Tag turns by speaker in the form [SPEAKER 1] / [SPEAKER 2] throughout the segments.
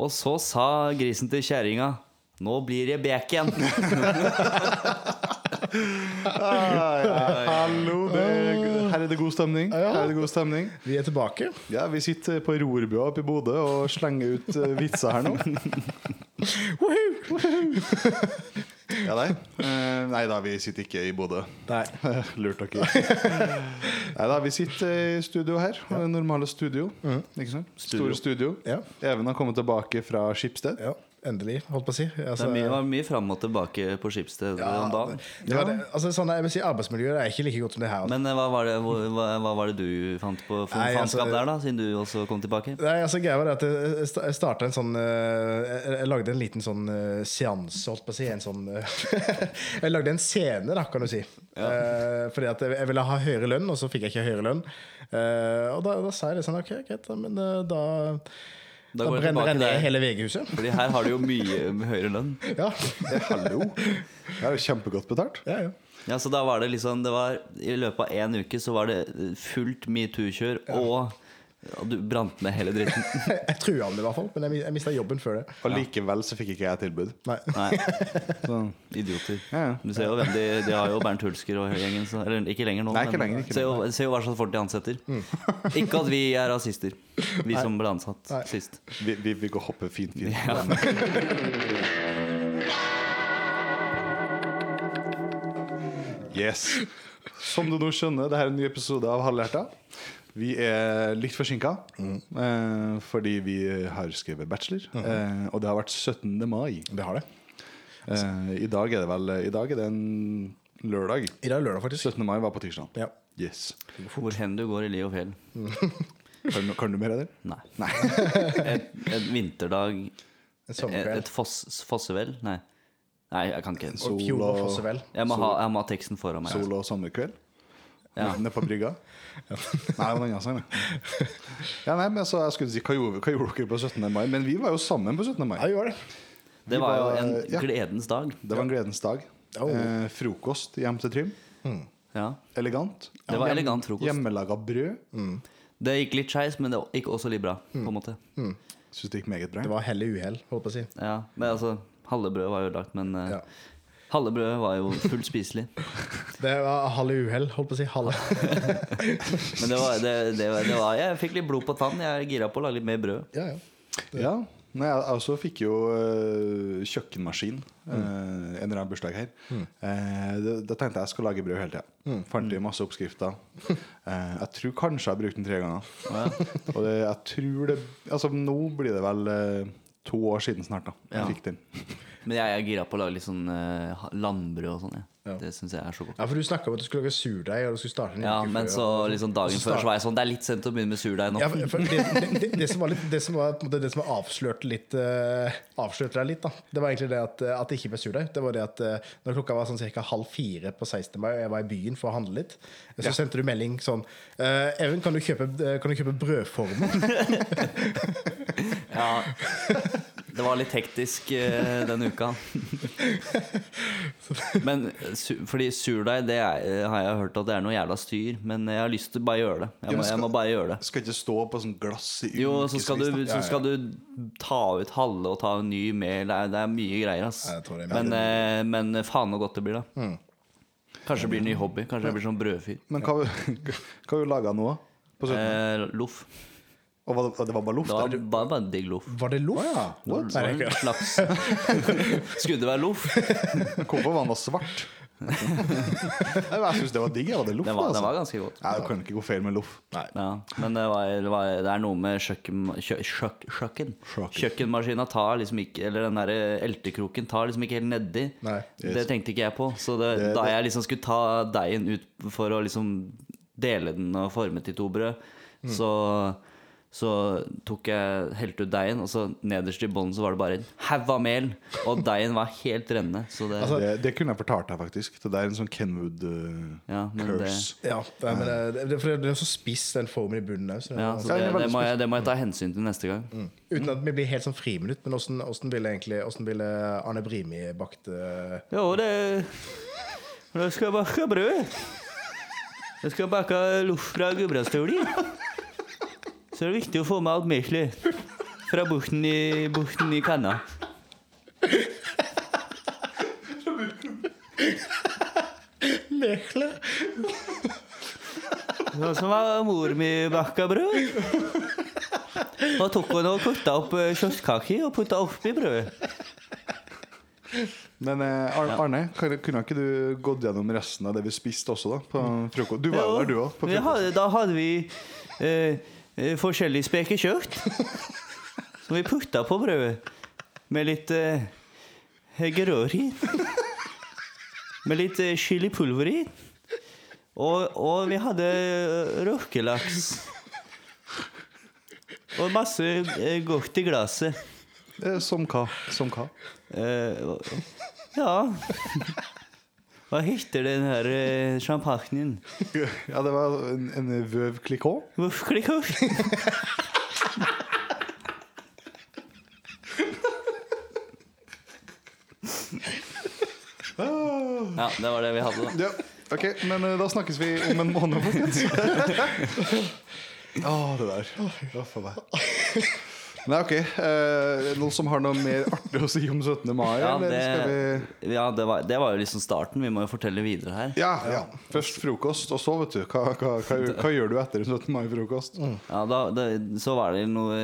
[SPEAKER 1] Og så sa grisen til kjerringa Nå blir jeg bjekk igjen.
[SPEAKER 2] Hallo, det, her er det god stemning.
[SPEAKER 3] Ja.
[SPEAKER 2] Her er det god stemning.
[SPEAKER 3] Vi er tilbake.
[SPEAKER 2] Ja, Vi sitter på rorbua oppe i Bodø og slenger ut eh, vitser her nå. ja, nei. Eh, nei da, vi sitter ikke i Bodø.
[SPEAKER 3] Nei.
[SPEAKER 2] Lurt dere. nei da, vi sitter i studio her. eh, Normale studio. Ikke sant? Store studio.
[SPEAKER 3] Ja.
[SPEAKER 2] Even har kommet tilbake fra Skipsted.
[SPEAKER 3] ja. Endelig, holdt på å si.
[SPEAKER 1] Det
[SPEAKER 3] Altså,
[SPEAKER 1] er mye, var mye fram og tilbake på Skipsted om dagen.
[SPEAKER 3] det var det. Altså, sånn, jeg vil si Arbeidsmiljøet er ikke like godt som det her. altså.
[SPEAKER 1] Men eh, hva var, det, hvor- hva, hva var det du fant på for
[SPEAKER 3] Nei, altså-
[SPEAKER 1] faenskap der, da? Siden du også kom tilbake?
[SPEAKER 3] Nei, altså greia var det at jeg- Jeg sta- jeg startet en sånn eh, Jeg jeg lagde en liten sånn eh, seanse, holdt på å si. En sånn eh, Jeg lagde en scene, da, kan du si. Eh, fordi at jeg jeg ville ha høyere lønn, og så fikk jeg ikke høyere lønn. Eh, og da, da sa jeg det sånn OK, greit, da, men eh, da Da,
[SPEAKER 1] Da går jeg
[SPEAKER 3] brenner
[SPEAKER 1] tilbake
[SPEAKER 3] jeg ned
[SPEAKER 1] der.
[SPEAKER 3] hele VG-huset.
[SPEAKER 1] Fordi her har du jo mye høyere lønn.
[SPEAKER 3] Ja.
[SPEAKER 2] Hallo. Det er jo kjempegodt betalt.
[SPEAKER 3] ja, ja.
[SPEAKER 1] Ja, så da var det liksom det var, I løpet av én uke så var det fullt metoo-kjør, og ja, du brant ned hele dritten.
[SPEAKER 3] Jeg trua om det, i hvert fall. Men jeg, mi- jeg mista jobben før det.
[SPEAKER 2] Og likevel så fikk ikke jeg tilbud.
[SPEAKER 3] Nei.
[SPEAKER 1] Nei, sånn
[SPEAKER 2] Så
[SPEAKER 1] idioter.
[SPEAKER 2] Ja, ja.
[SPEAKER 1] Du ser jo hvem de, de har jo Bernt Hulsker og gjengen. så- Eller ikke lenger nå.
[SPEAKER 2] Nei, ikke
[SPEAKER 1] men
[SPEAKER 2] lenger, Mm. ikke
[SPEAKER 1] ser, jo, ser jo hva slags folk de ansetter. Ikke at vi er rasister, vi som ble ansatt
[SPEAKER 3] Nei.
[SPEAKER 1] sist.
[SPEAKER 2] vi, vi, vi går hoppe fint, fint.
[SPEAKER 1] Ja.
[SPEAKER 2] Yes. Som du nå skjønner, det her er en ny episode av Halvhjerta. Vi er litt forsinka eh, fordi vi har skrevet bachelor. eh, og det har vært 17. mai.
[SPEAKER 3] Det har det.
[SPEAKER 2] Eh, I dag er det vel I dag er det en lørdag.
[SPEAKER 3] I dag er lørdag, faktisk.
[SPEAKER 2] 17. mai var på tirsdag.
[SPEAKER 3] Ja.
[SPEAKER 2] Yes.
[SPEAKER 1] Hvor hen du går i li og fjell.
[SPEAKER 2] Kan, du- kan du mer av det?
[SPEAKER 1] Nei.
[SPEAKER 2] Nei.
[SPEAKER 1] Et, et vinterdag
[SPEAKER 3] En
[SPEAKER 1] Et, et
[SPEAKER 3] sommerkveld.
[SPEAKER 1] foss, fossevell? Nei. Nei, jeg kan ikke.
[SPEAKER 3] Og fjord og fossevel.
[SPEAKER 1] Jeg må, ha, jeg må ha teksten foran meg.
[SPEAKER 2] Sol og sommerkveld?
[SPEAKER 1] Ja.
[SPEAKER 2] Nede på brygga? Nei, det var en annen sang, det. Ja, nei, men så jeg skulle si, hva gjorde, hva gjorde dere på 17. mai? Men vi var jo sammen på 17. mai.
[SPEAKER 3] Ja, vi gjør det.
[SPEAKER 1] Det var jo en
[SPEAKER 2] Vi var- ja.
[SPEAKER 1] gledens dag.
[SPEAKER 2] Det var en gledens dag.
[SPEAKER 3] Oh.
[SPEAKER 2] Eh, frokost hjem til Trym.
[SPEAKER 1] Ja.
[SPEAKER 2] Elegant.
[SPEAKER 1] Det var elegant frokost.
[SPEAKER 2] Hjemmelaga brød.
[SPEAKER 1] Mm. Det gikk litt skeis, men det gikk også litt bra. På
[SPEAKER 2] Mm.
[SPEAKER 1] en måte
[SPEAKER 2] Syns det gikk meget bra.
[SPEAKER 3] Det var hell i uhell, holdt på å si.
[SPEAKER 1] ja. Men altså, halve brødet var ødelagt, men eh,
[SPEAKER 3] Ja.
[SPEAKER 1] halve brødet var jo fullt spiselig.
[SPEAKER 3] Det var halv i uhell, holdt på å si. Halv.
[SPEAKER 1] Men det var, det, det, var- det var Jeg fikk litt blod på tann. Jeg er gira på å lage litt mer brød.
[SPEAKER 3] Ja, ja.
[SPEAKER 2] Ja. Nei, jeg jeg også fikk jo eh, kjøkkenmaskin eh,
[SPEAKER 1] Mm.
[SPEAKER 2] en eller annen bursdag her. Eh, det, da tenkte jeg jeg skal lage brød hele tida.
[SPEAKER 1] Mm.
[SPEAKER 2] Fant i masse oppskrifter. Eh, jeg tror kanskje jeg har brukt den tre ganger. Og det, jeg tror det Altså nå blir det vel eh, to år siden snart, da. Jeg
[SPEAKER 1] Ja.
[SPEAKER 2] fikk den.
[SPEAKER 1] Men jeg er gira på å lage litt sånn eh, ha- landbrød og sånn. jeg.
[SPEAKER 3] Ja.
[SPEAKER 1] Det syns jeg er så godt.
[SPEAKER 3] Ja, for du snakka om at du skulle lage surdeig, og du skulle starte en
[SPEAKER 1] Ja,
[SPEAKER 3] uke
[SPEAKER 1] men
[SPEAKER 3] før,
[SPEAKER 1] så
[SPEAKER 3] og-
[SPEAKER 1] liksom dagen
[SPEAKER 3] Så
[SPEAKER 1] før
[SPEAKER 3] start-
[SPEAKER 1] så var jeg sånn Det er litt sent å begynne med surdeig nå.
[SPEAKER 3] ja, for, for det, det, det, det som var litt Det som var, på en måte, det som var avslørt litt eh, Avslørte deg litt, da. Det var egentlig det at, eh, at det ikke ble surdeig. Det var det at eh, når klokka var sånn ca. halv fire på 16. mai, og jeg var i byen for å handle litt, så sendte du melding sånn eh, 'Even, kan du kjøpe, eh, kan du kjøpe brødformer?'
[SPEAKER 1] Ja. Det var litt hektisk eh, den uka. Men eh, su fordi surdeig, det er, eh, har jeg hørt at det er noe jævla styr. Men jeg har lyst til bare å gjøre det.
[SPEAKER 2] Ja,
[SPEAKER 1] Jeg
[SPEAKER 2] men
[SPEAKER 1] må, jeg
[SPEAKER 2] skal-
[SPEAKER 1] må bare gjøre det.
[SPEAKER 2] Skal ikke stå på sånn glass i
[SPEAKER 1] Jo, så skal, du,
[SPEAKER 2] ukevis, da.
[SPEAKER 1] så skal du ta ut halve og ta en ny med. Det er, det er mye greier, ass.
[SPEAKER 3] Ja, jeg tror det er mye.
[SPEAKER 1] Men, eh, men faen så godt det blir, da. Kanskje det blir en ny hobby. Kanskje jeg blir sånn brødfyr.
[SPEAKER 2] Men hva, hva har du laga nå? På søndag?
[SPEAKER 1] Eh, loff. Eh,
[SPEAKER 2] og var det, det var bare loff?
[SPEAKER 1] Det
[SPEAKER 2] der?
[SPEAKER 1] var bare, bare digg loff.
[SPEAKER 3] Var det loff?
[SPEAKER 1] Nei,
[SPEAKER 3] Nei, det er ikke det.
[SPEAKER 1] Slaps. Skulle det være loff?
[SPEAKER 2] Hvorfor var den da svart? Nei, jeg syns det var digg. Ja, det, loff,
[SPEAKER 1] Den var,
[SPEAKER 2] altså.
[SPEAKER 1] den var ganske godt.
[SPEAKER 2] Nei, du kan ikke gå feil med loff.
[SPEAKER 1] Ja, men det, var, det, var, det er noe med kjøkken, kjø, kjøk, kjøkken.
[SPEAKER 2] Kjøkken.
[SPEAKER 1] Kjøkkenmaskina tar liksom ikke Eller den der eltekroken tar liksom ikke helt nedi.
[SPEAKER 3] Nei,
[SPEAKER 1] Det tenkte ikke jeg på. Så det,
[SPEAKER 2] Det-
[SPEAKER 1] da
[SPEAKER 2] det-
[SPEAKER 1] jeg liksom skulle ta deigen ut for å liksom dele den og forme til to brød, så så tok jeg helte ut deigen, og så nederst i bånn så var det bare en haug av mel. Og deigen var helt rennende. Så det
[SPEAKER 2] Det, det kunne jeg fortalt deg, faktisk. Det der er en sånn Kenwood eh,
[SPEAKER 1] Ja, men det-
[SPEAKER 2] curse.
[SPEAKER 3] Ja, nei, men det, det, for det er så spiss, den formen i bunnen òg.
[SPEAKER 1] ja, så det, det, må jeg, det må jeg ta hensyn til neste gang.
[SPEAKER 3] Uten at vi blir helt sånn friminutt, men hvordan, hvordan, ville, egentlig, hvordan ville Arne Brimi bakt eh,
[SPEAKER 1] Jo, det Nå skal jeg bake brød. Jeg skal bake loff fra Gudbrandsdølen. Så er det viktig å få med alt meselet. Fra bukten i, bukten i kanna.
[SPEAKER 3] Lekle.
[SPEAKER 1] Og så var mor mi bakka brød. Og tok hun og kutta opp eh, kjøttkaker og putta oppi brødet.
[SPEAKER 2] Men eh, Ar- Arne, kan- kunne ikke du gått gjennom resten av det vi spiste også, da? På frokost? Du var jo
[SPEAKER 1] Ja,
[SPEAKER 2] der, du òg.
[SPEAKER 1] vi hadde- Da hadde vi eh, eh, forskjellig spekekjøtt. Som vi putta på brødet. Med litt eh, grør i. Med litt eh, chilipulver i. Og, og vi hadde eh, røkelaks. Og masse eh, godt i glasset.
[SPEAKER 2] Eh, Som hva? Som hva?
[SPEAKER 1] Eh, hva- ja Hva heter den her eh, champagnen?
[SPEAKER 2] Ja, det var en, en vøv klikå.
[SPEAKER 1] Voff, klikk, voff. Ja, det var det vi hadde, da.
[SPEAKER 2] Ja, ok, men eh, da snakkes vi om en måned, folkens. Å, det der. Å, for meg. Nei, ok. eh, noen som har noe mer artig å si om 17. mai?
[SPEAKER 1] Ja,
[SPEAKER 2] eller skal vi
[SPEAKER 1] det, ja, det, var, det var jo liksom starten. Vi må jo fortelle videre her.
[SPEAKER 2] ja, ja. Først frokost, og så, vet du. Hva, hva, hva, hva gjør du etter 17. mai-frokost?
[SPEAKER 3] Mm.
[SPEAKER 1] Ja, da, da, så var det noe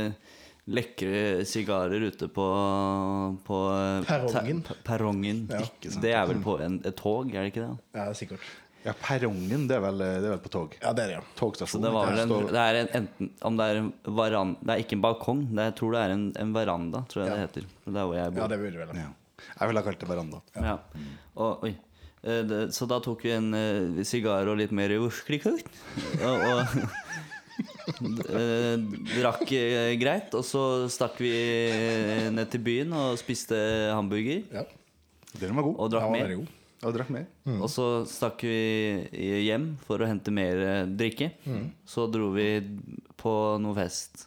[SPEAKER 1] lekre sigarer ute på, på
[SPEAKER 3] Perrongen.
[SPEAKER 1] te- perrongen. Det er vel på en, et tog, er det ikke det?
[SPEAKER 3] Ja, sikkert.
[SPEAKER 2] Ja, perrongen, det er vel, det er vel på tog?
[SPEAKER 3] Ja, det er det, ja.
[SPEAKER 1] Så
[SPEAKER 2] Togstasjon.
[SPEAKER 1] det var vel en,
[SPEAKER 2] står-
[SPEAKER 1] det er en, enten, om det er en veranda Det er ikke en balkong, det er, jeg tror det er en, en veranda, tror jeg det heter. Der hvor jeg
[SPEAKER 3] Ja,
[SPEAKER 1] bor.
[SPEAKER 3] det vil du vel.
[SPEAKER 2] ja. Jeg ville ha kalt det veranda.
[SPEAKER 1] Ja. Og, oi. Eh, Det, så da tok vi en eh, sigar og litt mer ursklikøyt. Og, og eh, drakk eh, greit. Og så stakk vi eh, ned til byen og spiste hamburger.
[SPEAKER 3] Ja.
[SPEAKER 2] Den var god.
[SPEAKER 1] Og drakk
[SPEAKER 3] Den var
[SPEAKER 1] mer.
[SPEAKER 3] veldig god.
[SPEAKER 2] Og drakk mer.
[SPEAKER 3] Mm.
[SPEAKER 1] Og så stakk vi i- hjem for å hente mer eh, drikke.
[SPEAKER 3] Mm.
[SPEAKER 1] Så dro vi på noe fest.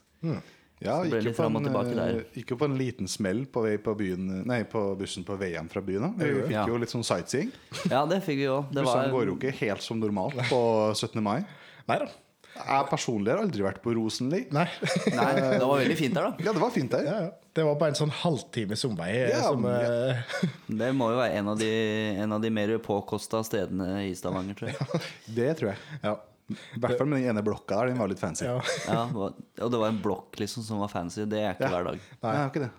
[SPEAKER 2] Ja,
[SPEAKER 1] Så det ble
[SPEAKER 2] gikk jo
[SPEAKER 1] litt
[SPEAKER 2] på
[SPEAKER 1] fram og
[SPEAKER 2] en,
[SPEAKER 1] tilbake der.
[SPEAKER 2] eh, gikk jo på en liten smell på, vei på, byen, nei, på bussen på vei hjem fra byen. Da. Vi fikk
[SPEAKER 1] Ja.
[SPEAKER 2] jo litt sånn sightseeing.
[SPEAKER 1] Ja, det fikk vi òg. Det
[SPEAKER 2] Bussene
[SPEAKER 1] var
[SPEAKER 2] går jo ikke helt som normalt på 17. mai.
[SPEAKER 3] Nei da.
[SPEAKER 2] Jeg personlig har aldri vært på Rosenli.
[SPEAKER 3] Nei.
[SPEAKER 1] Nei, det var veldig fint der, da.
[SPEAKER 2] Ja, det var fint der.
[SPEAKER 3] Ja, ja. Det var bare en sånn halvtimes omvei. eh,
[SPEAKER 2] Ja,
[SPEAKER 3] som,
[SPEAKER 2] ja.
[SPEAKER 3] eh,
[SPEAKER 1] Det må jo være en av de, en av de mer påkosta stedene i Stavanger, tror jeg.
[SPEAKER 2] Det tror jeg.
[SPEAKER 3] ja.
[SPEAKER 2] I hvert fall med den ene blokka der. Den var litt fancy.
[SPEAKER 3] ja.
[SPEAKER 1] Ja, og og det var en blokk liksom som var fancy. Det er ikke hver dag.
[SPEAKER 2] Nei, det var ikke det.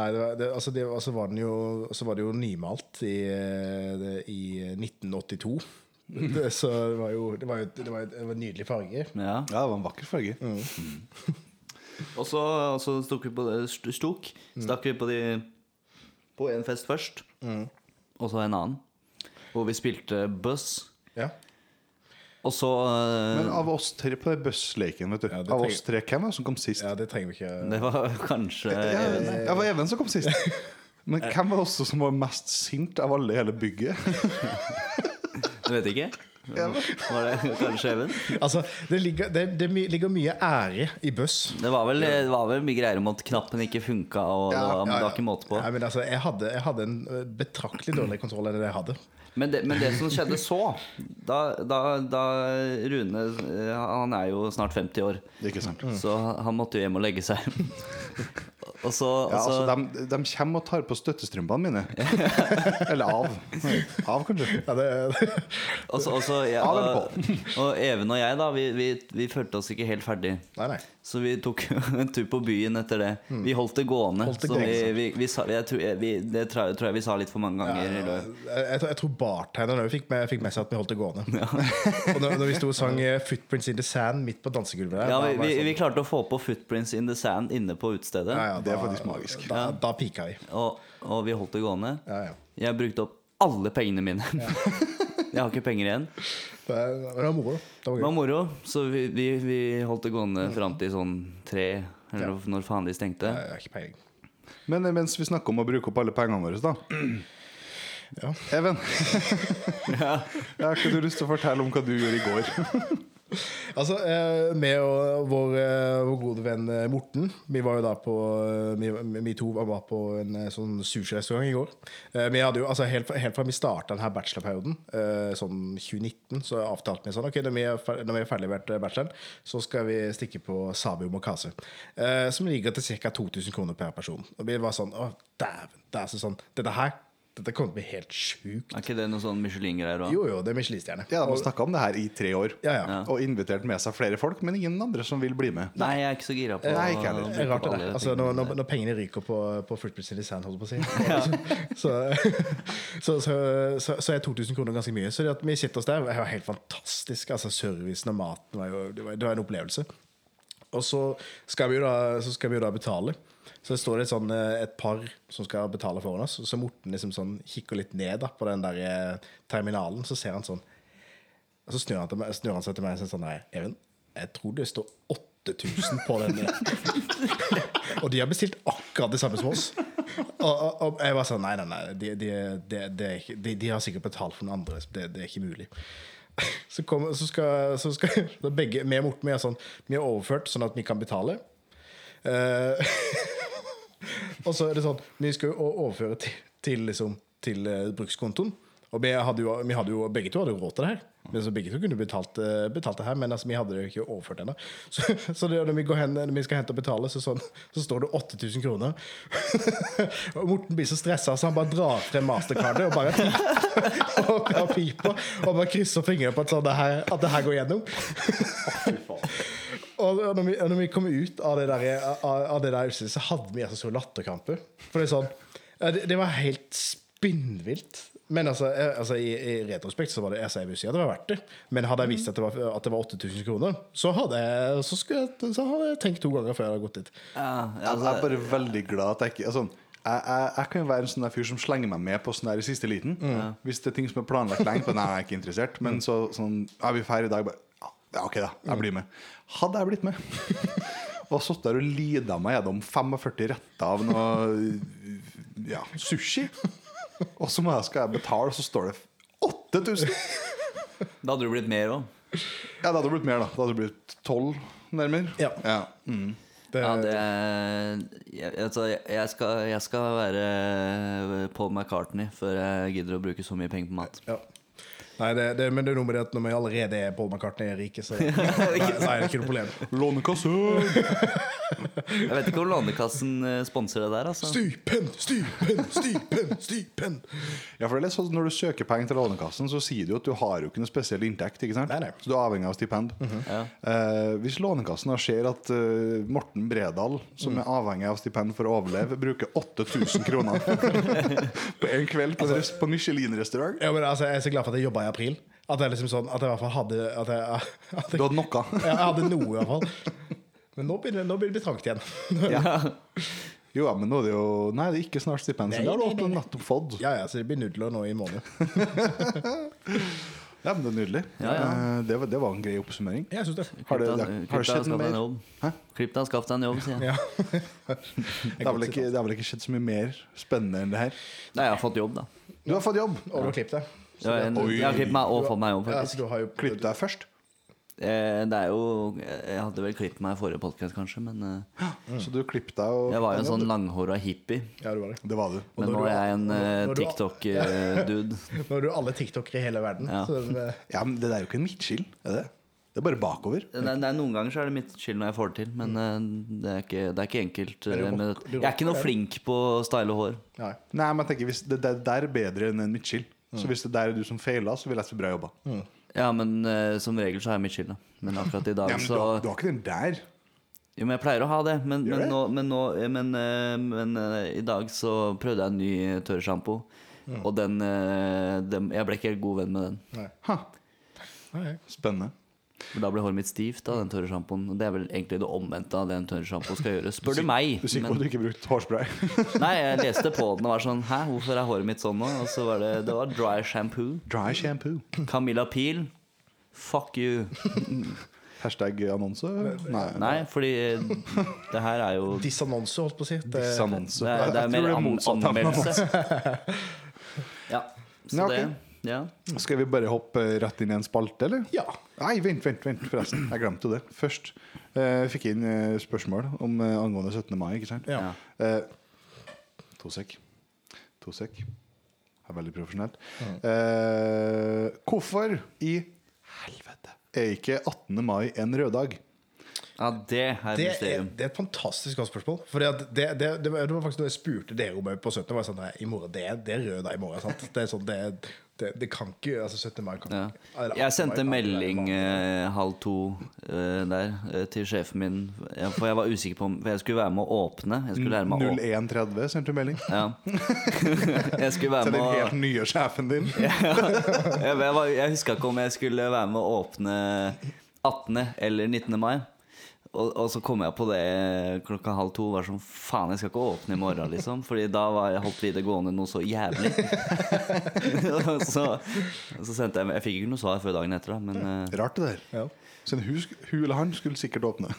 [SPEAKER 3] Nei, det var, det, altså det, altså var den jo, så var det jo nymalt i, eh, det- i 1982. Det, så det var jo Det var, jo, det var, jo- det var nydelig farge.
[SPEAKER 1] Ja.
[SPEAKER 2] Ja, det var en vakker farge.
[SPEAKER 1] Og så, og så stok vi på det st- stok.
[SPEAKER 2] Mm.
[SPEAKER 1] Stakk vi på de På en fest først,
[SPEAKER 2] Mm.
[SPEAKER 1] og så en annen. Hvor vi spilte Buzz.
[SPEAKER 3] Ja.
[SPEAKER 1] Og så eh,
[SPEAKER 2] Men av oss tre på den bussleiken, vet du
[SPEAKER 3] Ja, det
[SPEAKER 2] Av
[SPEAKER 3] trenger-
[SPEAKER 2] oss tre, hvem var det som kom sist?
[SPEAKER 3] ja, det trenger vi ikke
[SPEAKER 1] Det var kanskje
[SPEAKER 2] Ja, det var Even som kom sist. Men hvem var det også som var mest sint av alle i hele bygget?
[SPEAKER 1] Du vet ikke? Var det kanskje Even?
[SPEAKER 3] Altså, det ligger, det, det my- ligger mye ære i buss.
[SPEAKER 1] Det var vel, det var vel mye greier om at knappen ikke funka, og det var, det var ikke måte på.
[SPEAKER 3] Nei, men altså, jeg hadde, jeg hadde en eh, betraktelig dårligere kontroll enn det jeg hadde.
[SPEAKER 1] Men det, men det som skjedde så Da, da, da Rune eh, Han er jo snart 50 år,
[SPEAKER 2] Ikke sant?
[SPEAKER 3] Mm.
[SPEAKER 1] så han måtte jo hjem og legge seg. Og så, og
[SPEAKER 2] Ja,
[SPEAKER 1] så
[SPEAKER 2] altså, de, de kommer og tar på støttestrømpene mine. Eller av. Av, kanskje.
[SPEAKER 3] Ja, det,
[SPEAKER 1] og så- og så- jeg-
[SPEAKER 2] Ja, vel
[SPEAKER 1] og, og Even og jeg, da, vi, vi, vi følte oss ikke helt ferdig.
[SPEAKER 3] nei, nei.
[SPEAKER 1] Så vi tok jo en tur på byen etter det. Vi holdt det gående.
[SPEAKER 3] Mm. Holdt det
[SPEAKER 1] så
[SPEAKER 3] gående,
[SPEAKER 1] vi, vi, vi sa, jeg tror, jeg, vi, det tror jeg- tror jeg vi sa litt for mange ganger. i løpet.
[SPEAKER 3] Jeg, jeg, tror- jeg tror bartenderen òg fikk, med- fikk med seg at vi holdt det gående. og når, når vi sto og sang eh, 'Footprints in the Sand' midt på dansegulvet der
[SPEAKER 1] Ja, vi,
[SPEAKER 3] da var
[SPEAKER 1] vi,
[SPEAKER 3] jeg
[SPEAKER 1] vi klarte å få på 'Footprints in the Sand' inne på utestedet.
[SPEAKER 3] sånn, ja, ja,
[SPEAKER 2] Det er
[SPEAKER 3] da-
[SPEAKER 2] faktisk magisk.
[SPEAKER 3] Da, da pika vi.
[SPEAKER 1] Og, og vi holdt det gående.
[SPEAKER 3] Ja, ja.
[SPEAKER 1] Jeg brukte opp alle pengene mine. jeg har ikke penger igjen.
[SPEAKER 3] Det det var moro. da. Det var
[SPEAKER 1] Det
[SPEAKER 3] gøy.
[SPEAKER 1] var moro, så vi, vi, vi holdt det gående fram til sånn tre, eller når faen de stengte.
[SPEAKER 3] Jeg har ikke peiling.
[SPEAKER 2] Men eh, mens vi snakker om å bruke opp alle pengene våre, da.
[SPEAKER 3] Ja.
[SPEAKER 2] Even, jeg har ikke du lyst til å fortelle om hva du gjorde i går?
[SPEAKER 3] Altså, eh, med og vår, eh, vår gode venn eh, Morten Vi var jo da på eh, Vi, vi to var på en eh, sånn sushirestaurant i går. Eh, vi hadde jo, altså Helt, fra- helt fra vi starta denne bachelorperioden, eh, sånn 2019, så avtalte vi sånn Ok, når vi er fer- når vi er ferdig med bacheloren, så skal vi stikke på Sabio Mokase. Eh, som ligger til ca. 2000 kroner per person. Og vi var sånn Å, dæven. Det er så sånn Dette her Dette kommer til å bli helt sjukt.
[SPEAKER 1] Er ikke det noe sånn Michelin-greier òg?
[SPEAKER 3] Jo, jo, det er Michelin-stjerne.
[SPEAKER 2] Ja, De har snakka om det her i tre år
[SPEAKER 3] Ja, ja. Ja.
[SPEAKER 2] og invitert med seg flere folk, men ingen andre som vil bli med.
[SPEAKER 1] Nei, jeg er ikke så gira på
[SPEAKER 2] Nei, ikke
[SPEAKER 1] å
[SPEAKER 2] heller.
[SPEAKER 1] bli
[SPEAKER 3] Det er rart
[SPEAKER 1] på
[SPEAKER 3] det
[SPEAKER 1] alle
[SPEAKER 3] der. Altså, når,
[SPEAKER 1] tingene
[SPEAKER 3] når,
[SPEAKER 1] der.
[SPEAKER 3] når pengene ryker på, på fruktprinsen i sand, holdt jeg på å si, så, så, så, så, så er 2000 kroner ganske mye. Så det at vi sitter oss der, det var helt fantastisk. Altså, servicen og maten var jo det var, det var en opplevelse. Og så skal vi jo da, så skal vi jo da betale. Så det står et, sånn, eh, et par som skal betale foran oss. Så Morten liksom sånn, kikker litt ned da, på den der eh, terminalen, så ser han sånn og så snur han, til meg, snur han seg til meg og sier sånn Nei, Even, jeg tror det står 8000 på eh, denne. og de har bestilt akkurat det samme som oss. Og, og, og jeg var sånn Nei, nei, nei. De, de, de, de, er ikke- de, de har sikkert betalt for noen andre. så Det, det er ikke mulig. Så, kom, så skal, så skal da begge, Vi og Morten vi er, sånn, vi er overført sånn at vi kan betale. Eh, og så er det sånn Vi skal jo o- overføre til, til, liksom, til eh, brukskontoen. Og vi hadde, jo, vi hadde jo, begge to hadde jo råd til det her. Men så begge to kunne betalt, eh, betalt det her Men altså, vi hadde det jo ikke overført ennå. Så, så det, når, vi går hen, når vi skal hente og betale, så, sånn, så står det 8000 kroner. og Morten blir så stressa, så han bare drar frem mastercardet og bare og drar pipa. Og bare krysser fingrene på at, sånn, det her, at det her går gjennom. Og og når vi, og når vi kom ut av det der, av, av det der utstedet, så hadde vi altså så latterkrampe. For det er sånn ja, det, det var helt spinnvilt. Men altså, eh, altså i, i retrospekt så var det altså, jeg vil si at det var verdt det. Men hadde jeg visst at det var, at det var 8000 kroner, så hadde, jeg, så, skulle jeg, så hadde jeg tenkt to ganger før jeg hadde gått dit.
[SPEAKER 1] Ja, ja,
[SPEAKER 2] Altså, Jeg er bare veldig glad at jeg ikke altså, jeg, jeg, jeg kan jo være en sånn der fyr som slenger meg med på sånn der i siste liten.
[SPEAKER 3] Mm.
[SPEAKER 2] Hvis det er ting som er planlagt lenge, på, nei, jeg er ikke interessert. Men så sånn Er vi ferdig i dag? Bare, ja, OK, da.
[SPEAKER 3] Mm.
[SPEAKER 2] Jeg blir med. Hadde jeg blitt med. og sittet der og lida meg gjennom 45 retter av noe ja, sushi. Og så må jeg, skal jeg betale, og så står det 8000!
[SPEAKER 1] Da hadde du blitt mer òg.
[SPEAKER 2] Ja, det hadde blitt mer, da. Det hadde blitt 12, nærmere.
[SPEAKER 3] Ja.
[SPEAKER 2] Mm.
[SPEAKER 3] Det,
[SPEAKER 1] Ja, det jeg, altså, jeg, skal, jeg skal være Paul McCartney før jeg gidder å bruke så mye penger på mat.
[SPEAKER 3] ja. Nei, det, det, men det er noe med det at når vi allerede er Paul McCartney-rike, så, nei, så er det ikke noe problem.
[SPEAKER 2] Lånekasse!
[SPEAKER 1] Jeg vet ikke om Lånekassen eh, sponser det der, altså.
[SPEAKER 3] Stipend, stipend, stipend, stipend.
[SPEAKER 2] Ja, for det er litt sånn at Når du søker penger til Lånekassen, så sier du jo at du har jo ikke noe spesiell inntekt. ikke sant?
[SPEAKER 3] Nei, Mhm. nei.
[SPEAKER 2] Så du er avhengig av stipend.
[SPEAKER 1] Ja.
[SPEAKER 2] Eh, hvis Lånekassen da ser at eh, Morten Bredal, som
[SPEAKER 3] Mm.
[SPEAKER 2] er avhengig av stipend for å overleve, bruker 8000 kroner på en kveld
[SPEAKER 3] Altså-
[SPEAKER 2] på, en rest- på Michelin-restaurant
[SPEAKER 3] Ja, men altså, jeg er så glad for at jeg jobba i april. At jeg liksom sånn, at jeg i hvert fall hadde At jeg, at
[SPEAKER 2] Du
[SPEAKER 3] jeg,
[SPEAKER 2] hadde noe.
[SPEAKER 3] jeg hadde noe, i hvert fall. Men nå begynner, nå begynner det å bli trangt igjen.
[SPEAKER 2] Jo, ja, men nå er det jo Nei, det er ikke snart stipend. Så
[SPEAKER 3] Nei,
[SPEAKER 2] det har du
[SPEAKER 3] nei, nei,
[SPEAKER 2] åpnet
[SPEAKER 3] nei.
[SPEAKER 2] nettopp fått.
[SPEAKER 3] Ja, ja, så det blir nudler nå i måned.
[SPEAKER 2] Ja, men det er nydelig.
[SPEAKER 1] Ja, ja.
[SPEAKER 2] Eh, det, var, det var en grei oppsummering.
[SPEAKER 3] Jeg syns det.
[SPEAKER 2] Har det,
[SPEAKER 1] Klipp
[SPEAKER 2] det,
[SPEAKER 1] deg- klipp deg
[SPEAKER 2] har det
[SPEAKER 1] og
[SPEAKER 2] skjedd
[SPEAKER 1] skaff
[SPEAKER 2] noe
[SPEAKER 1] deg en
[SPEAKER 2] mer?
[SPEAKER 1] jobb. Klipp deg og skaff deg en jobb, sier jeg.
[SPEAKER 3] Ja.
[SPEAKER 2] Det har vel ikke, det har vel ikke skjedd så mye mer spennende enn det her.
[SPEAKER 1] Nei, jeg har fått jobb, da.
[SPEAKER 2] Du har fått jobb.
[SPEAKER 3] Og du har klippet deg.
[SPEAKER 1] Jeg har, en,
[SPEAKER 2] Oi.
[SPEAKER 1] jeg har klippet meg og fått meg jobb,
[SPEAKER 3] Ja,
[SPEAKER 1] faktisk.
[SPEAKER 3] så du har jo
[SPEAKER 2] Klipp deg først.
[SPEAKER 1] Eh, Det er jo Jeg hadde vel klippet meg i forrige podkast, kanskje, men eh,
[SPEAKER 2] Så du klippet deg og
[SPEAKER 1] jeg var jo en sånn langhåra hippie.
[SPEAKER 3] Ja, du var det.
[SPEAKER 2] Det var du.
[SPEAKER 1] Men
[SPEAKER 3] når
[SPEAKER 1] nå
[SPEAKER 3] du-
[SPEAKER 1] er jeg en eh,
[SPEAKER 3] når du-
[SPEAKER 1] TikTok-dude.
[SPEAKER 3] Nå er du alle tiktokere i hele verden.
[SPEAKER 1] Ja.
[SPEAKER 3] Så, eh,
[SPEAKER 2] Ja, men det der er jo ikke en midtskill, er det? Det er bare bakover.
[SPEAKER 1] Det er, det er Noen ganger så er det mitt skyld når jeg får det til, men eh, det er ikke, det er ikke enkelt.
[SPEAKER 3] Men du
[SPEAKER 1] eh,
[SPEAKER 3] rock-
[SPEAKER 1] Med,
[SPEAKER 3] du
[SPEAKER 1] jeg er ikke noe
[SPEAKER 3] rocker
[SPEAKER 1] flink på å style hår.
[SPEAKER 3] nei.
[SPEAKER 2] Nei, men jeg tenker, hvis det der, der er bedre enn en midtskill. Så hvis det der er du som feila, så vil jeg si bra jobba.
[SPEAKER 3] Mm.
[SPEAKER 1] Ja, men eh, som regel så har jeg mitt skyld, da. Men akkurat i dag
[SPEAKER 2] Ja, men du,
[SPEAKER 1] så
[SPEAKER 2] har- du har ikke den der.
[SPEAKER 1] Jo, men jeg pleier å ha det, men,
[SPEAKER 2] Gjør
[SPEAKER 1] men,
[SPEAKER 2] det?
[SPEAKER 1] nå, men, nå, men, eh, men eh, i dag så prøvde jeg en ny tørrsjampo.
[SPEAKER 2] Mm.
[SPEAKER 1] Og den, eh, den Jeg ble ikke helt god venn med den.
[SPEAKER 3] Nei.
[SPEAKER 2] Ha,
[SPEAKER 3] Nei.
[SPEAKER 2] spennende.
[SPEAKER 1] For da ble håret mitt stivt av den tørre sjampoen. Og det er vel egentlig det omvendte av det en tørr sjampo skal gjøre. Spør du meg!
[SPEAKER 2] Du sier ikke
[SPEAKER 1] Men,
[SPEAKER 2] at du ikke brukte hårspray.
[SPEAKER 1] nei, jeg leste på den og var sånn Hæ, hvorfor er håret mitt sånn nå? Og så var det Det var dry shampoo.
[SPEAKER 2] Dry shampoo.
[SPEAKER 1] Camilla Pil. Fuck you.
[SPEAKER 2] Hashtag annonse? Nei.
[SPEAKER 1] Nei, fordi eh, det her er jo Det
[SPEAKER 3] Dissonanse, holdt på å si. Det,
[SPEAKER 2] Dissannonse.
[SPEAKER 1] er, det
[SPEAKER 2] Jeg
[SPEAKER 1] er
[SPEAKER 2] tror
[SPEAKER 1] mer
[SPEAKER 2] det er
[SPEAKER 1] an
[SPEAKER 2] motsatt av annonse.
[SPEAKER 1] anmeldelse. Ja.
[SPEAKER 2] Ja,
[SPEAKER 1] Så
[SPEAKER 2] ok.
[SPEAKER 1] det Ja.
[SPEAKER 2] Skal vi bare hoppe rett inn i en spalte, eller?
[SPEAKER 3] Ja.
[SPEAKER 2] Nei, vent, vent, vent, forresten. Jeg glemte det. Først eh, fikk jeg inn eh, spørsmål om, eh, angående 17. mai, ikke sant?
[SPEAKER 3] Ja.
[SPEAKER 2] Eh, to sek. To sek. Det er veldig profesjonelt. Eh, hvorfor i helvete er ikke 18. mai en røddag?
[SPEAKER 1] ja, det er
[SPEAKER 3] Det er,
[SPEAKER 1] mysterium.
[SPEAKER 3] det er et fantastisk godt spørsmål. Fordi at det, det, det, var- det var faktisk noe jeg spurte dere om på 17. Var jeg sånn, nei, i morgen, det, er- det er rød dag i morgen. Sant? Det, er sånn, det, det, det kan ikke altså 17. mai kan
[SPEAKER 1] Ja.
[SPEAKER 3] ikke eller 18.
[SPEAKER 1] Jeg sendte
[SPEAKER 3] mai kan ikke være
[SPEAKER 1] melding
[SPEAKER 3] vanlig.
[SPEAKER 1] eh, halv to eh, der eh, til sjefen min, eh, for jeg var usikker på om For jeg skulle være med å åpne. Jeg skulle lære meg å åpne.
[SPEAKER 2] 0130, sendte du melding?
[SPEAKER 1] Ja. Jeg skulle
[SPEAKER 2] Til
[SPEAKER 1] være med
[SPEAKER 2] den
[SPEAKER 1] å
[SPEAKER 2] helt nye sjefen din?
[SPEAKER 1] Jeg, jeg, var- jeg huska ikke om jeg skulle være med å åpne 18. eller 19. mai. Og, og så kom jeg på det klokka halv to. Var sånn, Faen, jeg skal ikke åpne i morgen, liksom. Fordi da var jeg holdt vi det gående noe så jævlig. og så, så sendte jeg Jeg fikk ikke noe svar før dagen etter, da. Men eh,
[SPEAKER 2] Rart det der.
[SPEAKER 3] Ja.
[SPEAKER 2] Så hun, sk- hun eller han skulle sikkert åpne.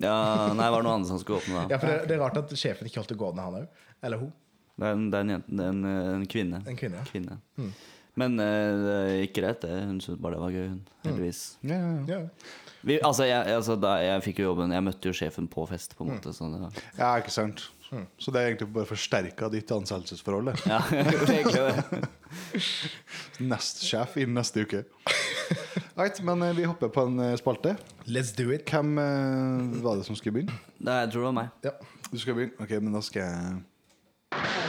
[SPEAKER 1] ja, nei, det var noe annet som skulle åpne da.
[SPEAKER 3] Ja, for det, det er rart at sjefen ikke holdt det gående, han òg. Eller hun.
[SPEAKER 1] Det er en, det er en, jente, det er en, eh, en kvinne.
[SPEAKER 3] En kvinne, ja. Mm.
[SPEAKER 1] Men eh, det gikk greit, det. Hun syntes bare det var gøy, hun.
[SPEAKER 3] Mm.
[SPEAKER 1] Heldigvis.
[SPEAKER 2] Ja, ja, ja.
[SPEAKER 3] Ja.
[SPEAKER 1] Vi, altså, jeg, altså da jeg fikk jo jobben Jeg møtte jo sjefen på fest, på en måte. Sånn, ja.
[SPEAKER 2] Ja, ikke sant. Så det er egentlig bare forsterka ditt ansettelsesforhold. det.
[SPEAKER 1] Ja, egentlig det.
[SPEAKER 2] Nest sjef innen neste uke. Right, men eh, vi hopper på en eh, spalte.
[SPEAKER 3] Let's do it.
[SPEAKER 2] Hvem eh, var det som skulle begynne?
[SPEAKER 1] Nei, jeg tror det var meg.
[SPEAKER 3] Ja.
[SPEAKER 2] Du skal begynne? Ok, men da skal jeg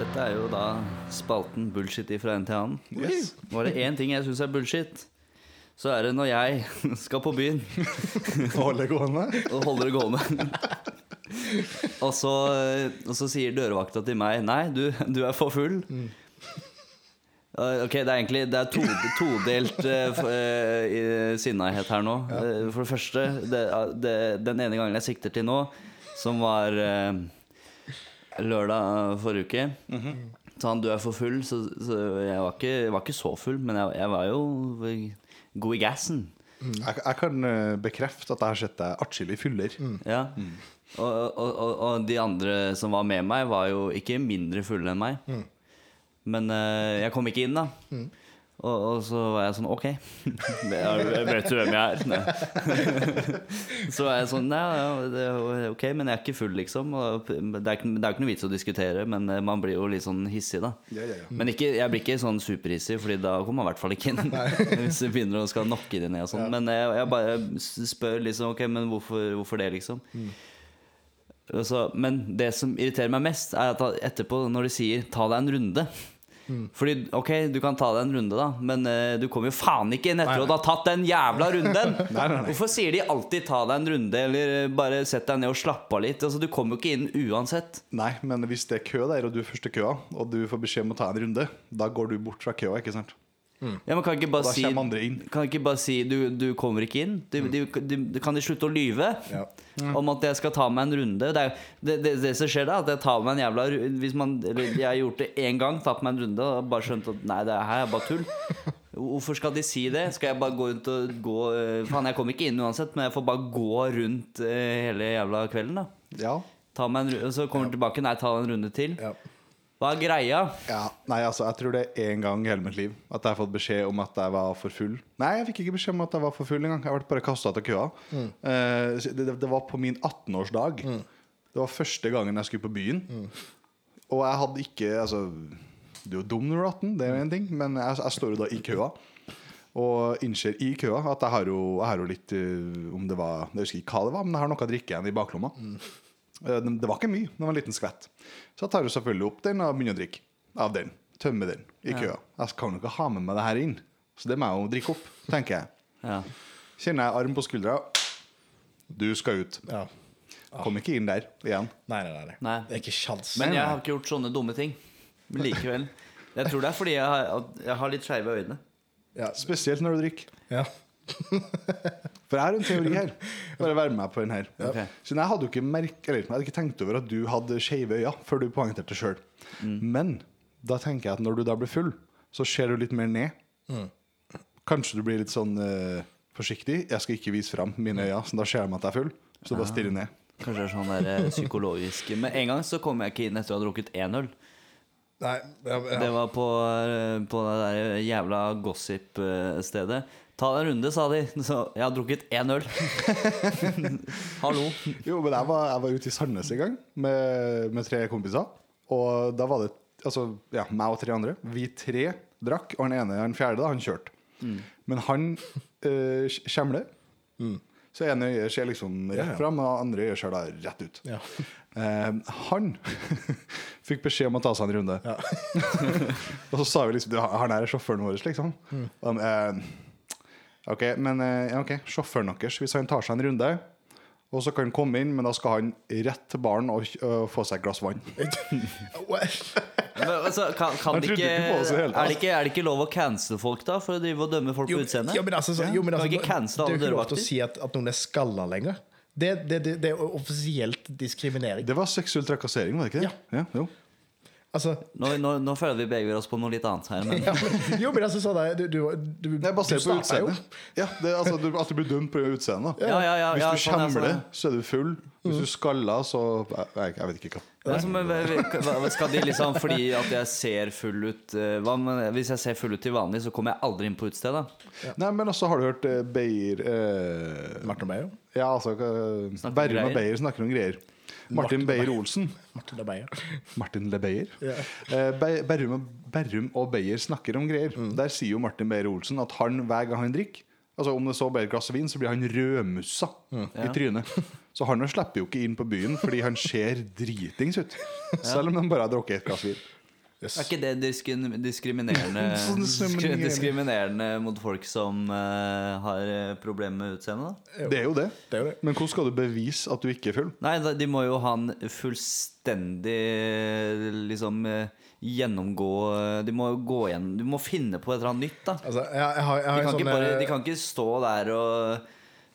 [SPEAKER 1] Dette er jo da spalten bullshit ifra en til annen.
[SPEAKER 2] Yes.
[SPEAKER 1] Var det én ting jeg syns er bullshit, så er det når jeg skal på byen
[SPEAKER 2] holde gående.
[SPEAKER 1] og holder det gående. Og så, eh, og så sier dørvakta til meg Nei, du, du er for full. Eh, Ok, det er egentlig Det er to, todelt eh, f- eh, i- sinnahet her nå. Eh, For det første, det, eh, det, den ene gangen jeg sikter til nå, som var eh, lørdag eh, forrige uke Så han, du er for full, så, så jeg var ikke, jeg var ikke så full, men jeg, jeg var jo eh, god i gassen.
[SPEAKER 2] Jeg, jeg kan eh, bekrefte at jeg har sett deg atskillig fyller.
[SPEAKER 1] Ja. Mm. Og, og, og, og de andre som var med meg, var jo ikke mindre fulle enn meg. Men eh, jeg kom ikke inn, da. Og, og så var jeg sånn OK. Ja, Vet du hvem jeg er? Nei. så var jeg sånn Nei, ja, det er OK, men jeg er ikke full, liksom. Og det er ikke, det er ikke noe vits å diskutere, men eh, man blir jo litt sånn hissig, da.
[SPEAKER 2] Ja, ja, ja.
[SPEAKER 1] Men ikke, jeg blir ikke sånn superhissig, Fordi da kommer man i hvert fall ikke inn. Hvis du begynner å skal nokke det ned og sånn. Men jeg, jeg bare s- spør liksom Ok, men hvorfor, hvorfor det, liksom?
[SPEAKER 2] Mm.
[SPEAKER 1] Og så- men det som irriterer meg mest, er at etterpå, når de sier 'ta deg en runde'
[SPEAKER 2] Mm.
[SPEAKER 1] Fordi, ok, du kan ta deg en runde, da, men eh, du kommer jo faen ikke inn etter
[SPEAKER 3] Nei,
[SPEAKER 1] at du har tatt den jævla runden!
[SPEAKER 2] Nei, nei, nei.
[SPEAKER 1] Hvorfor sier de alltid 'ta deg en runde', eller eh, 'bare sett deg ned og slapp av litt'? Altså, Du kommer jo ikke inn uansett.
[SPEAKER 2] Nei, men hvis det er kø der, og du er først i køa, og du får beskjed om å ta en runde, da går du bort fra køa, ikke sant?
[SPEAKER 1] Ja, men kan ikke bare
[SPEAKER 2] Mm. Da
[SPEAKER 1] si,
[SPEAKER 2] kommer andre inn.
[SPEAKER 1] Kan ikke bare si du, 'du kommer ikke inn'? De, de, de, kan de slutte å lyve
[SPEAKER 3] Mm. Ja.
[SPEAKER 1] om at jeg skal ta meg en runde? Det, er, jo- det, det, det som skjer da, at jeg tar meg en jævla ru- Hvis man eller Jeg har gjort det én gang, tatt meg en runde og bare skjønt at nei, det her er bare tull. Hvorfor skal de si det? Skal jeg bare gå rundt og gå eh, Faen, jeg kommer ikke inn uansett, men jeg får bare gå rundt eh, hele jævla kvelden, da.
[SPEAKER 2] Ja.
[SPEAKER 1] Ta meg en runde, og så kommer du tilbake. Nei, ta deg en runde til.
[SPEAKER 3] Ja.
[SPEAKER 1] Hva er greia?
[SPEAKER 2] ja. Nei, altså, jeg tror det er én gang i hele mitt liv at jeg har fått beskjed om at jeg var for full. Nei, jeg fikk ikke beskjed om at jeg var for full engang. Jeg ble bare kasta til køa. Eh, så det, det var på min 18-årsdag. Det var første gangen jeg skulle på byen. Og jeg hadde ikke Altså, du er jo dum når du er 18, det er én ting, men jeg, jeg står jo da i køa. Og innser i køa at jeg har jo, jeg har jo litt eh, Om det var Jeg husker ikke hva det var, men jeg har noe å drikke igjen i baklomma. Eh, Det det var ikke mye, det var en liten skvett. Så jeg tar jo selvfølgelig opp den og begynner å drikke av den. Tømme den i køa. Jeg kan jo ikke ha med meg det her inn, så det må jeg jo drikke opp, tenker jeg.
[SPEAKER 1] Ja.
[SPEAKER 2] Kjenner jeg arm på skuldra. Du skal ut.
[SPEAKER 3] Ja.
[SPEAKER 2] Kom ikke inn der igjen.
[SPEAKER 3] Nei, nei, nei, nei.
[SPEAKER 1] Nei.
[SPEAKER 3] Det er ikke sjans.
[SPEAKER 1] Men jeg har ikke gjort sånne dumme ting. Men likevel. Jeg tror det er fordi jeg har, at jeg har litt skeive øyne.
[SPEAKER 3] ja.
[SPEAKER 2] Spesielt når du drikker.
[SPEAKER 3] Ja.
[SPEAKER 2] For jeg har en teori her. Bare vær med på den her.
[SPEAKER 1] Ok.
[SPEAKER 2] Så jeg hadde jo ikke merket, eller, jeg hadde ikke tenkt over at du hadde skeive øyne før du Mm. poengterte sjøl. Men da tenker jeg at når du da blir full, så ser du litt mer ned. Kanskje du blir litt sånn eh, forsiktig. Jeg skal ikke vise fram mine øyne, så da ser de at jeg er full. Så bare stirre ned.
[SPEAKER 1] Kanskje det er sånn der eh, psykologisk Men en gang så kom jeg ikke inn etter å ha drukket én øl.
[SPEAKER 3] Nei, ja, ja.
[SPEAKER 1] Det var på, eh, på det der jævla gossip-stedet. Ta deg en runde, sa de. Så jeg har drukket én øl. Hallo.
[SPEAKER 2] Jo, men jeg var, jeg var ute i Sandnes en gang med, med tre kompiser. Og da var det altså, ja, meg og tre andre. Vi tre drakk, og han ene, han fjerde, da, han kjørte. Men han eh, kj- skjemler. Så ene øyet ser liksom rett fram, og det andre øyet ser da rett ut.
[SPEAKER 3] Ja.
[SPEAKER 2] Eh, han fikk beskjed om å ta seg en runde. og så sa vi liksom "Du, Han her er sjåføren vår, liksom. Og de, eh, ok, men eh, ja, ok, sjåføren deres, hvis han tar seg en runde og så kan han komme inn, men da skal han rett til baren og øh, få seg et glass vann.
[SPEAKER 1] Men, altså, kan, kan
[SPEAKER 2] Han
[SPEAKER 1] det
[SPEAKER 2] trodde
[SPEAKER 1] ikke,
[SPEAKER 2] ikke på oss i det hele tatt.
[SPEAKER 1] er det ikke Er det ikke lov å cancele folk, da? For å drive og dømme folk
[SPEAKER 3] Jo,
[SPEAKER 1] på utseendet?
[SPEAKER 3] Ja, men altså, så, jo, men
[SPEAKER 1] Kan
[SPEAKER 3] altså,
[SPEAKER 1] ikke cancele
[SPEAKER 3] det er
[SPEAKER 1] alle
[SPEAKER 3] jo ikke lov
[SPEAKER 1] dørvakter.
[SPEAKER 3] til å si at, at noen er skalla lenger. Det, det, det, det er offisielt diskriminering.
[SPEAKER 2] Det var seksuell trakassering, var det ikke det? Ja, jo.
[SPEAKER 3] Altså,
[SPEAKER 1] Nå, nå, nå føler vi beveger oss på noe litt annet her, men
[SPEAKER 3] ja, men, jo, men altså, sånn er det, du, du, du,
[SPEAKER 2] Det er basert
[SPEAKER 3] du
[SPEAKER 2] på
[SPEAKER 3] starter jo.
[SPEAKER 2] utseendet. Ja, det, er altså, du, at du blir dømt pga. utseendet.
[SPEAKER 1] Ja, ja, ja,
[SPEAKER 2] Hvis
[SPEAKER 1] ja, sånn er
[SPEAKER 2] du
[SPEAKER 1] det,
[SPEAKER 2] skjemmer det,
[SPEAKER 1] sånn er
[SPEAKER 2] så er du full. Hvis du skaller, så eh, Jeg, jeg vet ikke hva.
[SPEAKER 1] Altså, men, hva- hva- Skal de liksom Fordi at jeg ser full ut eh, hva, med- Hvis jeg ser full ut til vanlig, så kommer jeg aldri inn på utestedet.
[SPEAKER 2] Nei, men også har du hørt eh, Beyer eh,
[SPEAKER 3] Martin Beyer.
[SPEAKER 2] Ja, altså eh,
[SPEAKER 1] om
[SPEAKER 2] Berrum
[SPEAKER 1] greier.
[SPEAKER 2] og Beyer snakker om greier. Martin Beyer-Olsen.
[SPEAKER 3] Martin Beyer.
[SPEAKER 2] Martin Le Beyer.
[SPEAKER 3] Ja.
[SPEAKER 2] Eh, Be- Berrum, og, Berrum og Beyer snakker om greier. Der sier jo Martin Beyer-Olsen at han hver gang han drikker Altså Om det så blir et glass vin, så blir han rødmussa i
[SPEAKER 1] Ja.
[SPEAKER 2] trynet. Så han slipper jo ikke inn på byen fordi han ser dritings ut. Selv om han bare har drukket et glass vin.
[SPEAKER 1] Er ikke det diskri- diskriminerende
[SPEAKER 2] Sånn
[SPEAKER 1] diskri-
[SPEAKER 2] diskriminerende.
[SPEAKER 1] Diskriminerende mot folk som eh, har eh, problemer med utseendet? da?
[SPEAKER 2] Det er jo det.
[SPEAKER 3] Det er jo det.
[SPEAKER 2] Men hvordan skal du bevise at du ikke er full?
[SPEAKER 1] Nei, da- de må jo ha en fullstendig liksom eh, gjennomgå eh, De må jo gå igjen De må finne på et eller annet nytt, da.
[SPEAKER 3] Altså, jeg, jeg har, jeg
[SPEAKER 1] De
[SPEAKER 3] har
[SPEAKER 1] kan, ikke
[SPEAKER 3] en sånn
[SPEAKER 1] bare,
[SPEAKER 3] eh,
[SPEAKER 1] de kan ikke stå der og,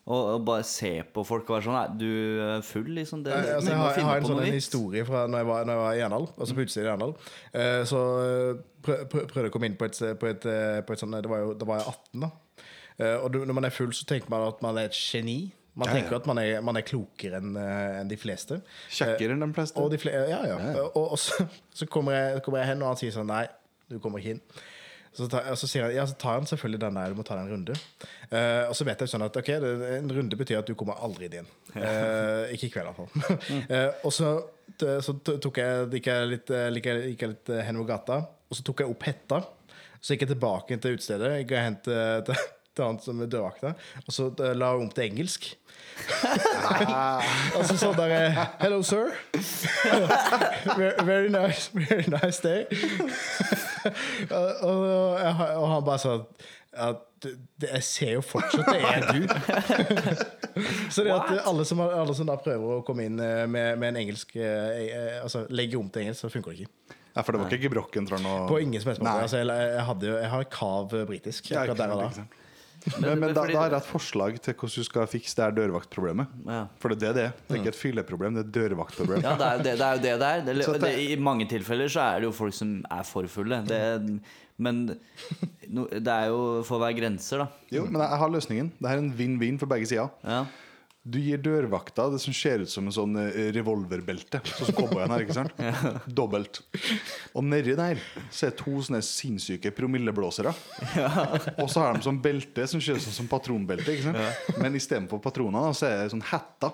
[SPEAKER 1] og, og bare se på folk og være sånn Nei, du er full, liksom. Det,
[SPEAKER 3] Nei, altså,
[SPEAKER 1] du
[SPEAKER 3] jeg,
[SPEAKER 1] må
[SPEAKER 3] har, jeg
[SPEAKER 1] finne
[SPEAKER 3] har en
[SPEAKER 1] på noe
[SPEAKER 3] sånn en
[SPEAKER 1] nytt.
[SPEAKER 3] historie fra når jeg var, når jeg var i Arendal, altså på utsiden i Arendal. Eh, så eh, prø, prø, prøvde jeg å komme inn på et, på et, eh, på et sånt Da var, jeg jo- da var jeg 18, da. Eh, og du, når man er full, så tenker man at man er et geni. Man
[SPEAKER 2] Ja, ja.
[SPEAKER 3] tenker at man er, man er klokere enn eh, enn de fleste.
[SPEAKER 2] Kjekkere enn de fleste.
[SPEAKER 3] Og de flere, ja, ja. Og, og så, så kommer, jeg, kommer jeg hen, og han sier sånn Nei, du kommer ikke inn. Så, tar, og så, sier han, ja, så tar han selvfølgelig den der, du må ta deg en runde. Eh, og så vet jeg sånn at ok, det, en runde betyr at du kommer aldri inn. Eh, ikke i kveld, iallfall. uh, og så, t- så t- tok jeg, gikk jeg litt, eh, gikk jeg, gikk jeg litt eh, henover gata, og så tok jeg opp hetta. Så gikk jeg tilbake til utestedet, gikk og hentet til, til han som er dørvakta, og så eh, la jeg om til engelsk. Og så sånn der eh, Hello, sir. Ve- very nice, very nice day. og, og, jeg har- og han bare sa at, at det, jeg ser jo fortsatt det er du. så det at alle som, har- alle som da prøver å komme inn eh, med, med en engelsk eh, eh, Altså legge om til engelsk, så funker det ikke.
[SPEAKER 2] Ja, for det var ikke gebrokken fra noe
[SPEAKER 3] På ingen som helst måte.
[SPEAKER 2] Nei.
[SPEAKER 3] Altså, jeg, jeg, hadde, jo- jeg har kav eh, britisk
[SPEAKER 2] Ja,
[SPEAKER 3] akkurat
[SPEAKER 2] ikke
[SPEAKER 3] der og
[SPEAKER 2] sant,
[SPEAKER 3] da.
[SPEAKER 2] ikke sant. Men, men da,
[SPEAKER 1] fordi-
[SPEAKER 2] da har jeg et forslag til hvordan du skal fikse det her dørvaktproblemet.
[SPEAKER 1] Ja.
[SPEAKER 2] For det er det det er. Det er ikke et fylleproblem, det er et dørvaktproblem.
[SPEAKER 1] Ja, det er jo det det er. Jo det det er. Det,
[SPEAKER 2] Så
[SPEAKER 1] det,
[SPEAKER 2] at det-
[SPEAKER 1] I mange tilfeller så er det jo folk som er for fulle. Det, men no, det er jo får være grenser, da.
[SPEAKER 2] Jo, men jeg- jeg har løsningen. Det her er en vinn-vinn for begge sider.
[SPEAKER 1] Ja.
[SPEAKER 2] Du gir dørvakta det som ser ut som en sånn eh, revolverbelte. Sånn som cowboyen her, ikke sant? Dobbelt. Og nedi der så er det to sånne sinnssyke promilleblåsere. Og så har de sånn belte som ser ut som patronbelte. Ikke sant? Men istedenfor patroner da, så er det sånn hetta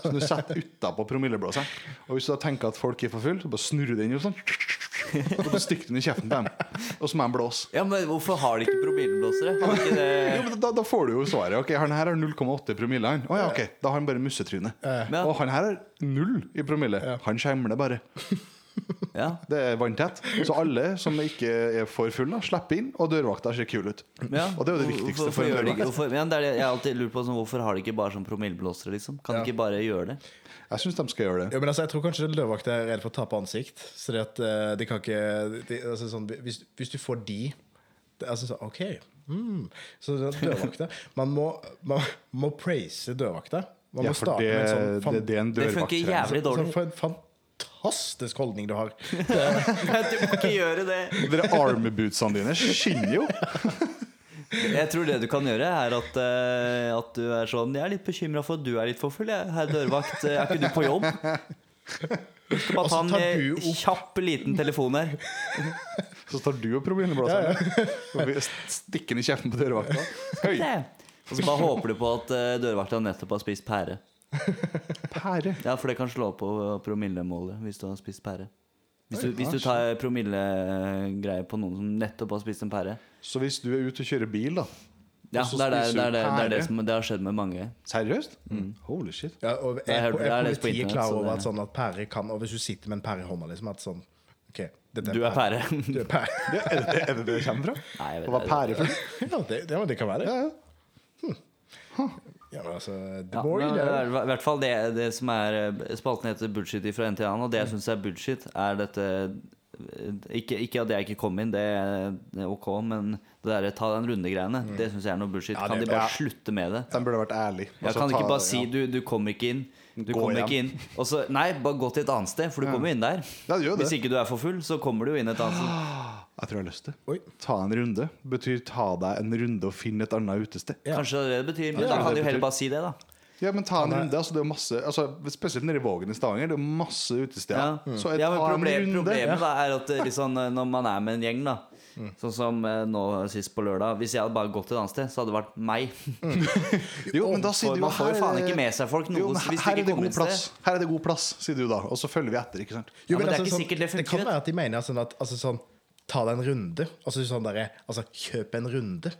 [SPEAKER 2] som du setter utapå promilleblåseren. Og hvis du da tenker at folk er for fulle, så bare snurrer du den jo sånn. Og så stikker du den i kjeften på dem. Og så må de blåse.
[SPEAKER 1] ja, men hvorfor har de ikke promilleblåsere? Har de ikke
[SPEAKER 2] Jo,
[SPEAKER 1] det?
[SPEAKER 2] men da, da får du jo svaret. Ok, Han her har 0,8 i promille. Han. Å ja, ok, Da har han bare mussetryne.
[SPEAKER 1] Ja.
[SPEAKER 2] Og han her har null i promille. Han skjemler bare.
[SPEAKER 1] Ja.
[SPEAKER 2] Det er vanntett. Så alle som ikke er for fulle, slipper inn, og dørvakta ser kul ut.
[SPEAKER 1] Ja.
[SPEAKER 2] Og det er jo det viktigste
[SPEAKER 1] Hvorfor-
[SPEAKER 2] for
[SPEAKER 1] hvorfor
[SPEAKER 2] en
[SPEAKER 1] gjør de ikke-
[SPEAKER 2] dørvakt.
[SPEAKER 1] hvorfor- ja, det er det Jeg har alltid lurt på sånn, hvorfor har de ikke bare sånn promilleblåsere, liksom? Kan de ikke bare gjøre det?
[SPEAKER 2] Jeg syns de skal gjøre det.
[SPEAKER 3] Ja, men altså, jeg tror kanskje dørvakter er redd for å tape ansikt. Så det at eh, de kan ikke de, altså, sånn, hvis, hvis du får de det, altså, så, OK. Mm. Så det er dørvakter Man må, man må praise dørvakter. Man
[SPEAKER 2] Ja,
[SPEAKER 3] må
[SPEAKER 2] for
[SPEAKER 3] starte
[SPEAKER 2] det,
[SPEAKER 3] med en sånn fan,
[SPEAKER 2] det, det er en
[SPEAKER 1] Det funker
[SPEAKER 2] dørvakttrening.
[SPEAKER 1] jævlig
[SPEAKER 3] sånn
[SPEAKER 1] dårlig.
[SPEAKER 3] for en fantastisk holdning du har.
[SPEAKER 1] Du må ikke gjøre det.
[SPEAKER 2] Dere army-bootsene dine skinner jo!
[SPEAKER 1] Jeg tror det du kan gjøre, er at, eh, at du er sånn Jeg er litt bekymra for at du er litt for full, jeg. Herr dørvakt, eh, er ikke du på jobb? Du skal
[SPEAKER 3] Og
[SPEAKER 2] Altså,
[SPEAKER 1] bare
[SPEAKER 3] så
[SPEAKER 1] ta en
[SPEAKER 3] tar
[SPEAKER 1] eh,
[SPEAKER 3] du
[SPEAKER 2] oh.
[SPEAKER 3] opp.
[SPEAKER 1] kjapp liten telefon her.
[SPEAKER 2] Så tar du og problemblåseren. Ja, ja. Stikker den i kjeften på dørvakta. Høy
[SPEAKER 1] Og så bare håper du på at eh, dørvakta nettopp har spist pære.
[SPEAKER 2] pære.
[SPEAKER 1] Ja, for det kan slå på promillemålet hvis du har spist pære. Hvis du, hvis du tar promillegreier på noen som nettopp har spist en pære.
[SPEAKER 2] Så hvis du er ute og kjører bil, da
[SPEAKER 1] Ja,
[SPEAKER 2] Og så
[SPEAKER 1] det er det,
[SPEAKER 2] spiser
[SPEAKER 1] det, er
[SPEAKER 2] du
[SPEAKER 1] det, det, er det,
[SPEAKER 2] pære.
[SPEAKER 1] som, det har skjedd med mange.
[SPEAKER 2] Seriøst?
[SPEAKER 1] Mm.
[SPEAKER 2] Holy shit.
[SPEAKER 3] Ja, og
[SPEAKER 1] Jeg
[SPEAKER 3] er,
[SPEAKER 1] hørte- jeg har
[SPEAKER 3] er
[SPEAKER 1] lest på
[SPEAKER 3] politiet
[SPEAKER 1] internett,
[SPEAKER 3] klar
[SPEAKER 1] så
[SPEAKER 3] over
[SPEAKER 1] det-
[SPEAKER 3] at sånn at pære kan Og hvis du sitter med en pære i hånda, liksom at sånn OK, dette
[SPEAKER 1] Du er pære.
[SPEAKER 3] Du er pære.
[SPEAKER 2] Ja, er, det, er det det det kommer fra?
[SPEAKER 1] Nei, jeg vet
[SPEAKER 2] Å være
[SPEAKER 1] ikke.
[SPEAKER 2] pærefull?
[SPEAKER 3] ja, det, det, det kan være det. Hm.
[SPEAKER 2] Ja, ja.
[SPEAKER 3] Ja, men altså The
[SPEAKER 1] Ja,
[SPEAKER 3] more
[SPEAKER 1] men,
[SPEAKER 3] you know.
[SPEAKER 1] i hvert fall det, det som er eh, Spalten heter Bullshit fra en til annen, og
[SPEAKER 2] Mm.
[SPEAKER 1] det jeg syns er bullshit, er dette eh, ikke, ikke at jeg ikke kom inn, det er det er ok, men det derre ta deg en runde-greiene, det syns jeg er noe bullshit.
[SPEAKER 3] Ja,
[SPEAKER 1] Kan
[SPEAKER 3] det-
[SPEAKER 1] de bare
[SPEAKER 2] Mm. ja.
[SPEAKER 1] slutte med det?
[SPEAKER 2] Den burde vært ærlig.
[SPEAKER 1] Jeg
[SPEAKER 2] Altså,
[SPEAKER 1] kan
[SPEAKER 2] ta-
[SPEAKER 1] ikke bare si
[SPEAKER 2] ja.
[SPEAKER 1] du, du kommer ikke inn. Du
[SPEAKER 2] Gå
[SPEAKER 1] kommer
[SPEAKER 2] hjem.
[SPEAKER 1] ikke inn og så, Nei, bare gå til et annet sted, for du kommer jo inn der.
[SPEAKER 2] Ja, du gjør det.
[SPEAKER 1] Hvis ikke du er for full, så kommer du jo inn et annet sted.
[SPEAKER 2] Jeg tror jeg har lyst til.
[SPEAKER 3] Oi.
[SPEAKER 2] Ta en runde betyr ta deg en runde og finne et annet utested.
[SPEAKER 3] Ja.
[SPEAKER 1] Kanskje det er det det betyr, men
[SPEAKER 2] Ja,
[SPEAKER 1] da
[SPEAKER 2] det
[SPEAKER 1] kan
[SPEAKER 2] betyr-
[SPEAKER 1] de jo heller bare si det, da.
[SPEAKER 2] Ja, men ta en runde, altså det er jo masse altså, Spesielt nede i Vågen i Stavanger, det er jo masse utesteder.
[SPEAKER 1] Ja. Mm.
[SPEAKER 2] Så jeg
[SPEAKER 1] Ja, men
[SPEAKER 2] tar en
[SPEAKER 1] problem,
[SPEAKER 2] runde.
[SPEAKER 1] problemet da er at eh, liksom, eh, når man er med en gjeng, da
[SPEAKER 2] Mm.
[SPEAKER 1] Sånn som eh, nå sist på lørdag. Hvis jeg hadde bare gått et annet sted, så hadde det vært meg.
[SPEAKER 2] Jo, men da sier
[SPEAKER 1] For
[SPEAKER 2] du
[SPEAKER 1] man
[SPEAKER 2] jo,
[SPEAKER 1] får
[SPEAKER 2] her
[SPEAKER 1] jo
[SPEAKER 2] er
[SPEAKER 1] faen
[SPEAKER 2] det-
[SPEAKER 1] ikke med seg folk noe
[SPEAKER 2] Jo, men
[SPEAKER 1] hvis de
[SPEAKER 2] her er
[SPEAKER 1] ikke
[SPEAKER 2] det
[SPEAKER 1] kommer
[SPEAKER 2] god
[SPEAKER 1] et sted.
[SPEAKER 2] plass. Her er det god plass, sier du da. Og så følger vi etter, ikke sant.
[SPEAKER 1] Ja, men det er ikke sikkert det
[SPEAKER 3] altså sånn- det kan
[SPEAKER 1] funker,
[SPEAKER 3] være at de mener sånn at altså, sånn, Ta deg en runde. Altså sånn derre Altså, kjøp en runde.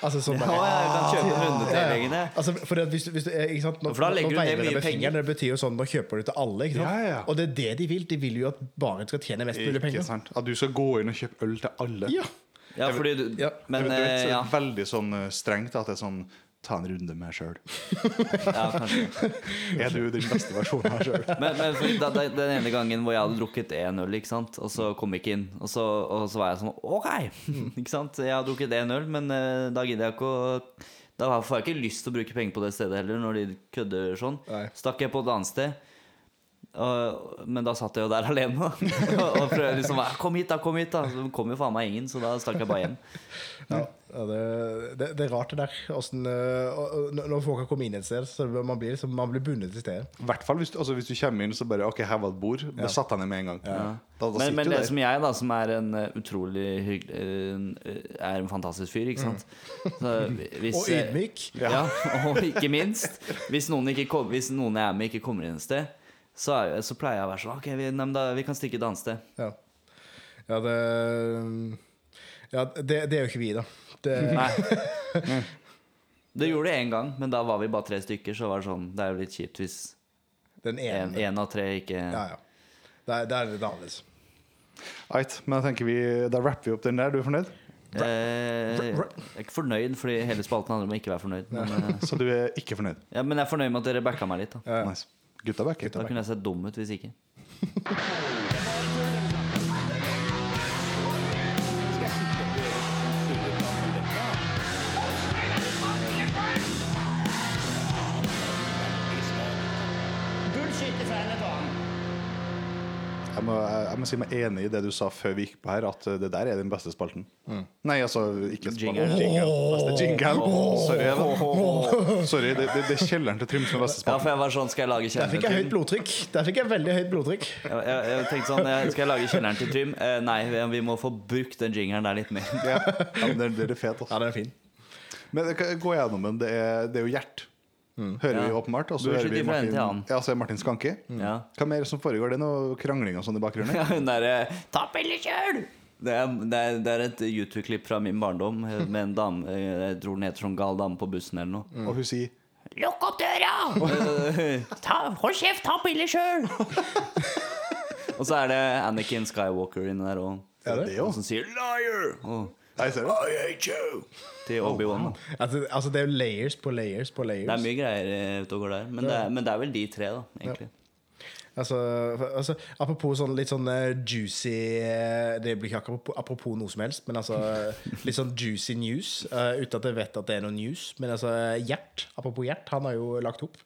[SPEAKER 3] Altså sånn
[SPEAKER 1] Å, ja, jeg kan kjøpe en runde til
[SPEAKER 3] Ja, ja.
[SPEAKER 1] legen, jeg.
[SPEAKER 3] Altså, for at hvis du, hvis du, eh, ikke sant? Nå,
[SPEAKER 1] For da legger
[SPEAKER 3] nå
[SPEAKER 1] du ned
[SPEAKER 3] veier det
[SPEAKER 1] mye
[SPEAKER 3] med
[SPEAKER 1] penger.
[SPEAKER 3] fingeren, Det betyr jo sånn, nå kjøper du til alle. Ikke sant?
[SPEAKER 2] Ja, ja, ja.
[SPEAKER 3] Og det er det de vil. De vil jo at baren skal tjene mest mulig
[SPEAKER 2] Ikke
[SPEAKER 3] penger.
[SPEAKER 2] sant? At du skal gå inn og kjøpe øl til alle.
[SPEAKER 3] Ja.
[SPEAKER 1] Ja, fordi du,
[SPEAKER 3] Ja,
[SPEAKER 1] men
[SPEAKER 2] Eventuelt
[SPEAKER 1] eh,
[SPEAKER 2] så er
[SPEAKER 1] ja,
[SPEAKER 2] det veldig sånn eh, strengt da, at det er sånn Ta en runde med meg sjøl.
[SPEAKER 1] ja, kanskje.
[SPEAKER 2] Er du den beste versjonen av meg sjøl?
[SPEAKER 1] Men, men for da, da, den ene gangen hvor jeg hadde drukket én øl, ikke sant? og så kom jeg ikke inn. Og så, og så var jeg sånn OK! Ikke sant? Jeg har drukket én øl, men eh, da gidder jeg ikke å Da får jeg ikke lyst til å bruke penger på det stedet heller, når de kødder sånn.
[SPEAKER 3] Nei.
[SPEAKER 1] Stakk jeg på et annet sted. og- men da satt jeg jo der alene da. og prøvde liksom Kom hit, da! Kom hit, da! Så kom jo faen meg ingen, så da stakk jeg bare hjem.
[SPEAKER 3] Ja, ja, det, det, det er rart, det der. Hvordan, eh, og, og, når- når folk har kommet inn et sted, så man blir liksom, man blir bundet til stedet.
[SPEAKER 2] I hvert fall hvis, du- altså, hvis du kommer inn så bare OK, her var et bord. Da satte jeg ned med en gang. Da, da
[SPEAKER 1] men,
[SPEAKER 2] sitter
[SPEAKER 1] men
[SPEAKER 2] du
[SPEAKER 1] det
[SPEAKER 2] der.
[SPEAKER 1] som jeg, da, som er en eh, utrolig hyggelig eh, Er en fantastisk fyr, ikke sant?
[SPEAKER 2] Mm.
[SPEAKER 1] Så hvis,
[SPEAKER 3] Og ydmyk.
[SPEAKER 1] eh, Ja. og ikke minst. Hvis noen, ikke kom, hvis noen jeg er med, ikke kommer inn et sted, så, er, så pleier jeg å være sånn OK, vi, nei, men da, vi kan stikke et annet sted.
[SPEAKER 3] Ja, ja det Ja, det, det er jo ikke vi, da. Det,
[SPEAKER 1] Nei. Det gjorde det én gang, men da var vi bare tre stykker, så var det sånn Det er jo litt kjipt hvis
[SPEAKER 3] den ene.
[SPEAKER 1] én av tre ikke
[SPEAKER 3] Ja, ja. Der, der er det annerledes.
[SPEAKER 2] Right, men jeg tenker vi, Da rapper vi opp den der. Du er fornøyd?
[SPEAKER 1] eh, Jeg er ikke fornøyd, fordi hele spalten handler om å ikke være fornøyd. Men, eh,
[SPEAKER 2] Så du er ikke fornøyd?
[SPEAKER 1] ja, men jeg er fornøyd med at dere backa meg litt. da
[SPEAKER 3] Ja.
[SPEAKER 2] Nice. Gutta backer.
[SPEAKER 1] Da kunne jeg sett dum ut hvis ikke.
[SPEAKER 4] Bullshit fra Nederland.
[SPEAKER 2] Jeg må, jeg, jeg må si meg enig i det du sa før vi gikk på her, at eh, det der er den beste spalten. Nei, altså ikke
[SPEAKER 1] Jingle.
[SPEAKER 2] spalten. Jingle. Altså, det er jingle. Sorry, Even. Sorry, det, det, det er kjelleren til Trym som er beste
[SPEAKER 1] Ja,
[SPEAKER 2] spalten.
[SPEAKER 1] for jeg var sånn, skal jeg lage
[SPEAKER 3] Der
[SPEAKER 1] kjelleren
[SPEAKER 3] fikk jeg høyt
[SPEAKER 1] til Trym?
[SPEAKER 3] blodtrykk. Der fikk jeg veldig høyt blodtrykk.
[SPEAKER 1] Jeg, jeg, jeg tenkte sånn, jeg- skal jeg lage kjelleren til Trym? Eh, nei, vi- vi må få brukt den jingeren der litt mer.
[SPEAKER 2] Ja, ja, men det, det er fet,
[SPEAKER 3] Ja,
[SPEAKER 2] altså.
[SPEAKER 3] den er fin.
[SPEAKER 2] Men jeg kan gå gjennom den. Det er, det er jo Gjert. Hører
[SPEAKER 1] Ja.
[SPEAKER 2] vi åpenbart. Og så
[SPEAKER 1] Bullshit
[SPEAKER 2] hører vi
[SPEAKER 1] ifra en
[SPEAKER 2] Martin,
[SPEAKER 1] til annen.
[SPEAKER 2] ja, så er Martin Skanke.
[SPEAKER 1] Ja.
[SPEAKER 2] Hva mer som foregår? Det er noe krangling og sånn i bakgrunnen?
[SPEAKER 1] Mm. ja hun derre Ta piller sjøl! Det er, det, er, det er et YouTube-klipp fra min barndom eh, med en dame eh, Jeg tror den heter sånn Gal dame på bussen eller noe.
[SPEAKER 2] Og hun sier
[SPEAKER 4] Lukk opp døra! Ta, hold kjeft, ta piller sjøl!
[SPEAKER 1] Og så er det Anakin Skywalker inni der òg.
[SPEAKER 2] Ja, det er jo.
[SPEAKER 1] Som sier 'liar' og,
[SPEAKER 2] Nei, ser du?
[SPEAKER 1] til Obi-Wan. da.
[SPEAKER 3] Altså, altså, det er jo layers på layers på
[SPEAKER 1] Det er
[SPEAKER 3] layers.
[SPEAKER 1] mye greier eh, ute og går der. Men det er, men det er vel de tre, da, egentlig.
[SPEAKER 3] Altså, for- altså, apropos sånn litt sånn eh, juicy eh, Det blir ikke apropos, apropos noe som helst, men altså eh, litt sånn juicy news. eh, uten at jeg vet at det er noe news. Men altså, Gjert, apropos Gjert, han har jo lagt opp,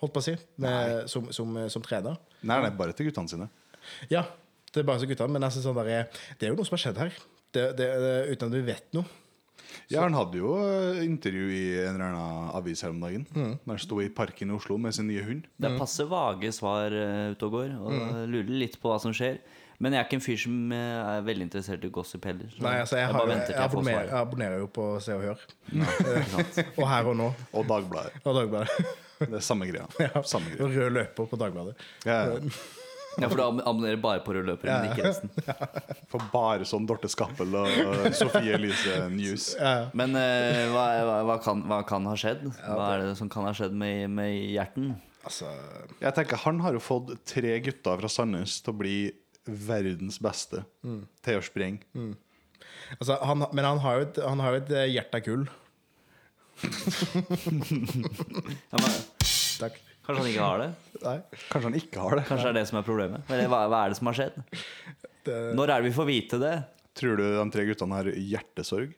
[SPEAKER 3] holdt på å si, med, som, som, eh, som trener.
[SPEAKER 2] Nei, nei, bare til guttene sine.
[SPEAKER 3] Ja, det er bare så guttene, men altså, sånn der, det er jo noe som har skjedd her. Det, det, det, uten at vi vet noe.
[SPEAKER 2] Ja, han hadde jo eh, intervju i en eller annen avis her om dagen. Der han sto i parken i Oslo med sin nye hund.
[SPEAKER 1] Det
[SPEAKER 3] Mm.
[SPEAKER 1] er passe vage svar eh, ute og går, og lurer litt på hva som skjer. Men jeg er ikke en fyr som eh, er veldig interessert i gossip heller. så
[SPEAKER 3] Nei, altså, jeg, har,
[SPEAKER 1] bare
[SPEAKER 3] jeg,
[SPEAKER 1] venter til jeg får
[SPEAKER 3] abonnerer, jeg
[SPEAKER 1] svar.
[SPEAKER 3] abonnerer jo på Se og Hør. og Her og Nå
[SPEAKER 2] Og Dagbladet.
[SPEAKER 3] og Dagbladet.
[SPEAKER 2] Det er samme greia. Samme
[SPEAKER 3] Og
[SPEAKER 2] greia.
[SPEAKER 3] Rød løper på Dagbladet.
[SPEAKER 2] Ja,
[SPEAKER 1] Ja, for du ab- abonnerer bare på rød løper, men ikke resten.
[SPEAKER 2] for bare sånn Dorte Skappel og Sofie Elise News.
[SPEAKER 1] Men eh, hva, hva, hva, kan, hva kan ha skjedd? Hva er det som kan ha skjedd med, med hjerten?
[SPEAKER 3] Altså,
[SPEAKER 2] Jeg tenker Han har jo fått tre gutter fra Sandnes til å bli verdens beste
[SPEAKER 1] Mm.
[SPEAKER 2] til å sprenge.
[SPEAKER 3] altså, han, men han har jo et, han har jo et eh, hjerte av gull.
[SPEAKER 1] Ja, men,
[SPEAKER 3] Takk.
[SPEAKER 1] kanskje han ikke har det?
[SPEAKER 3] Nei.
[SPEAKER 2] Kanskje han ikke har det.
[SPEAKER 1] Kanskje det er det som er problemet? Eller hva, hva er det som har skjedd?
[SPEAKER 3] Det-
[SPEAKER 1] Når er det vi får vite det?
[SPEAKER 2] Tror du de tre guttene har hjertesorg?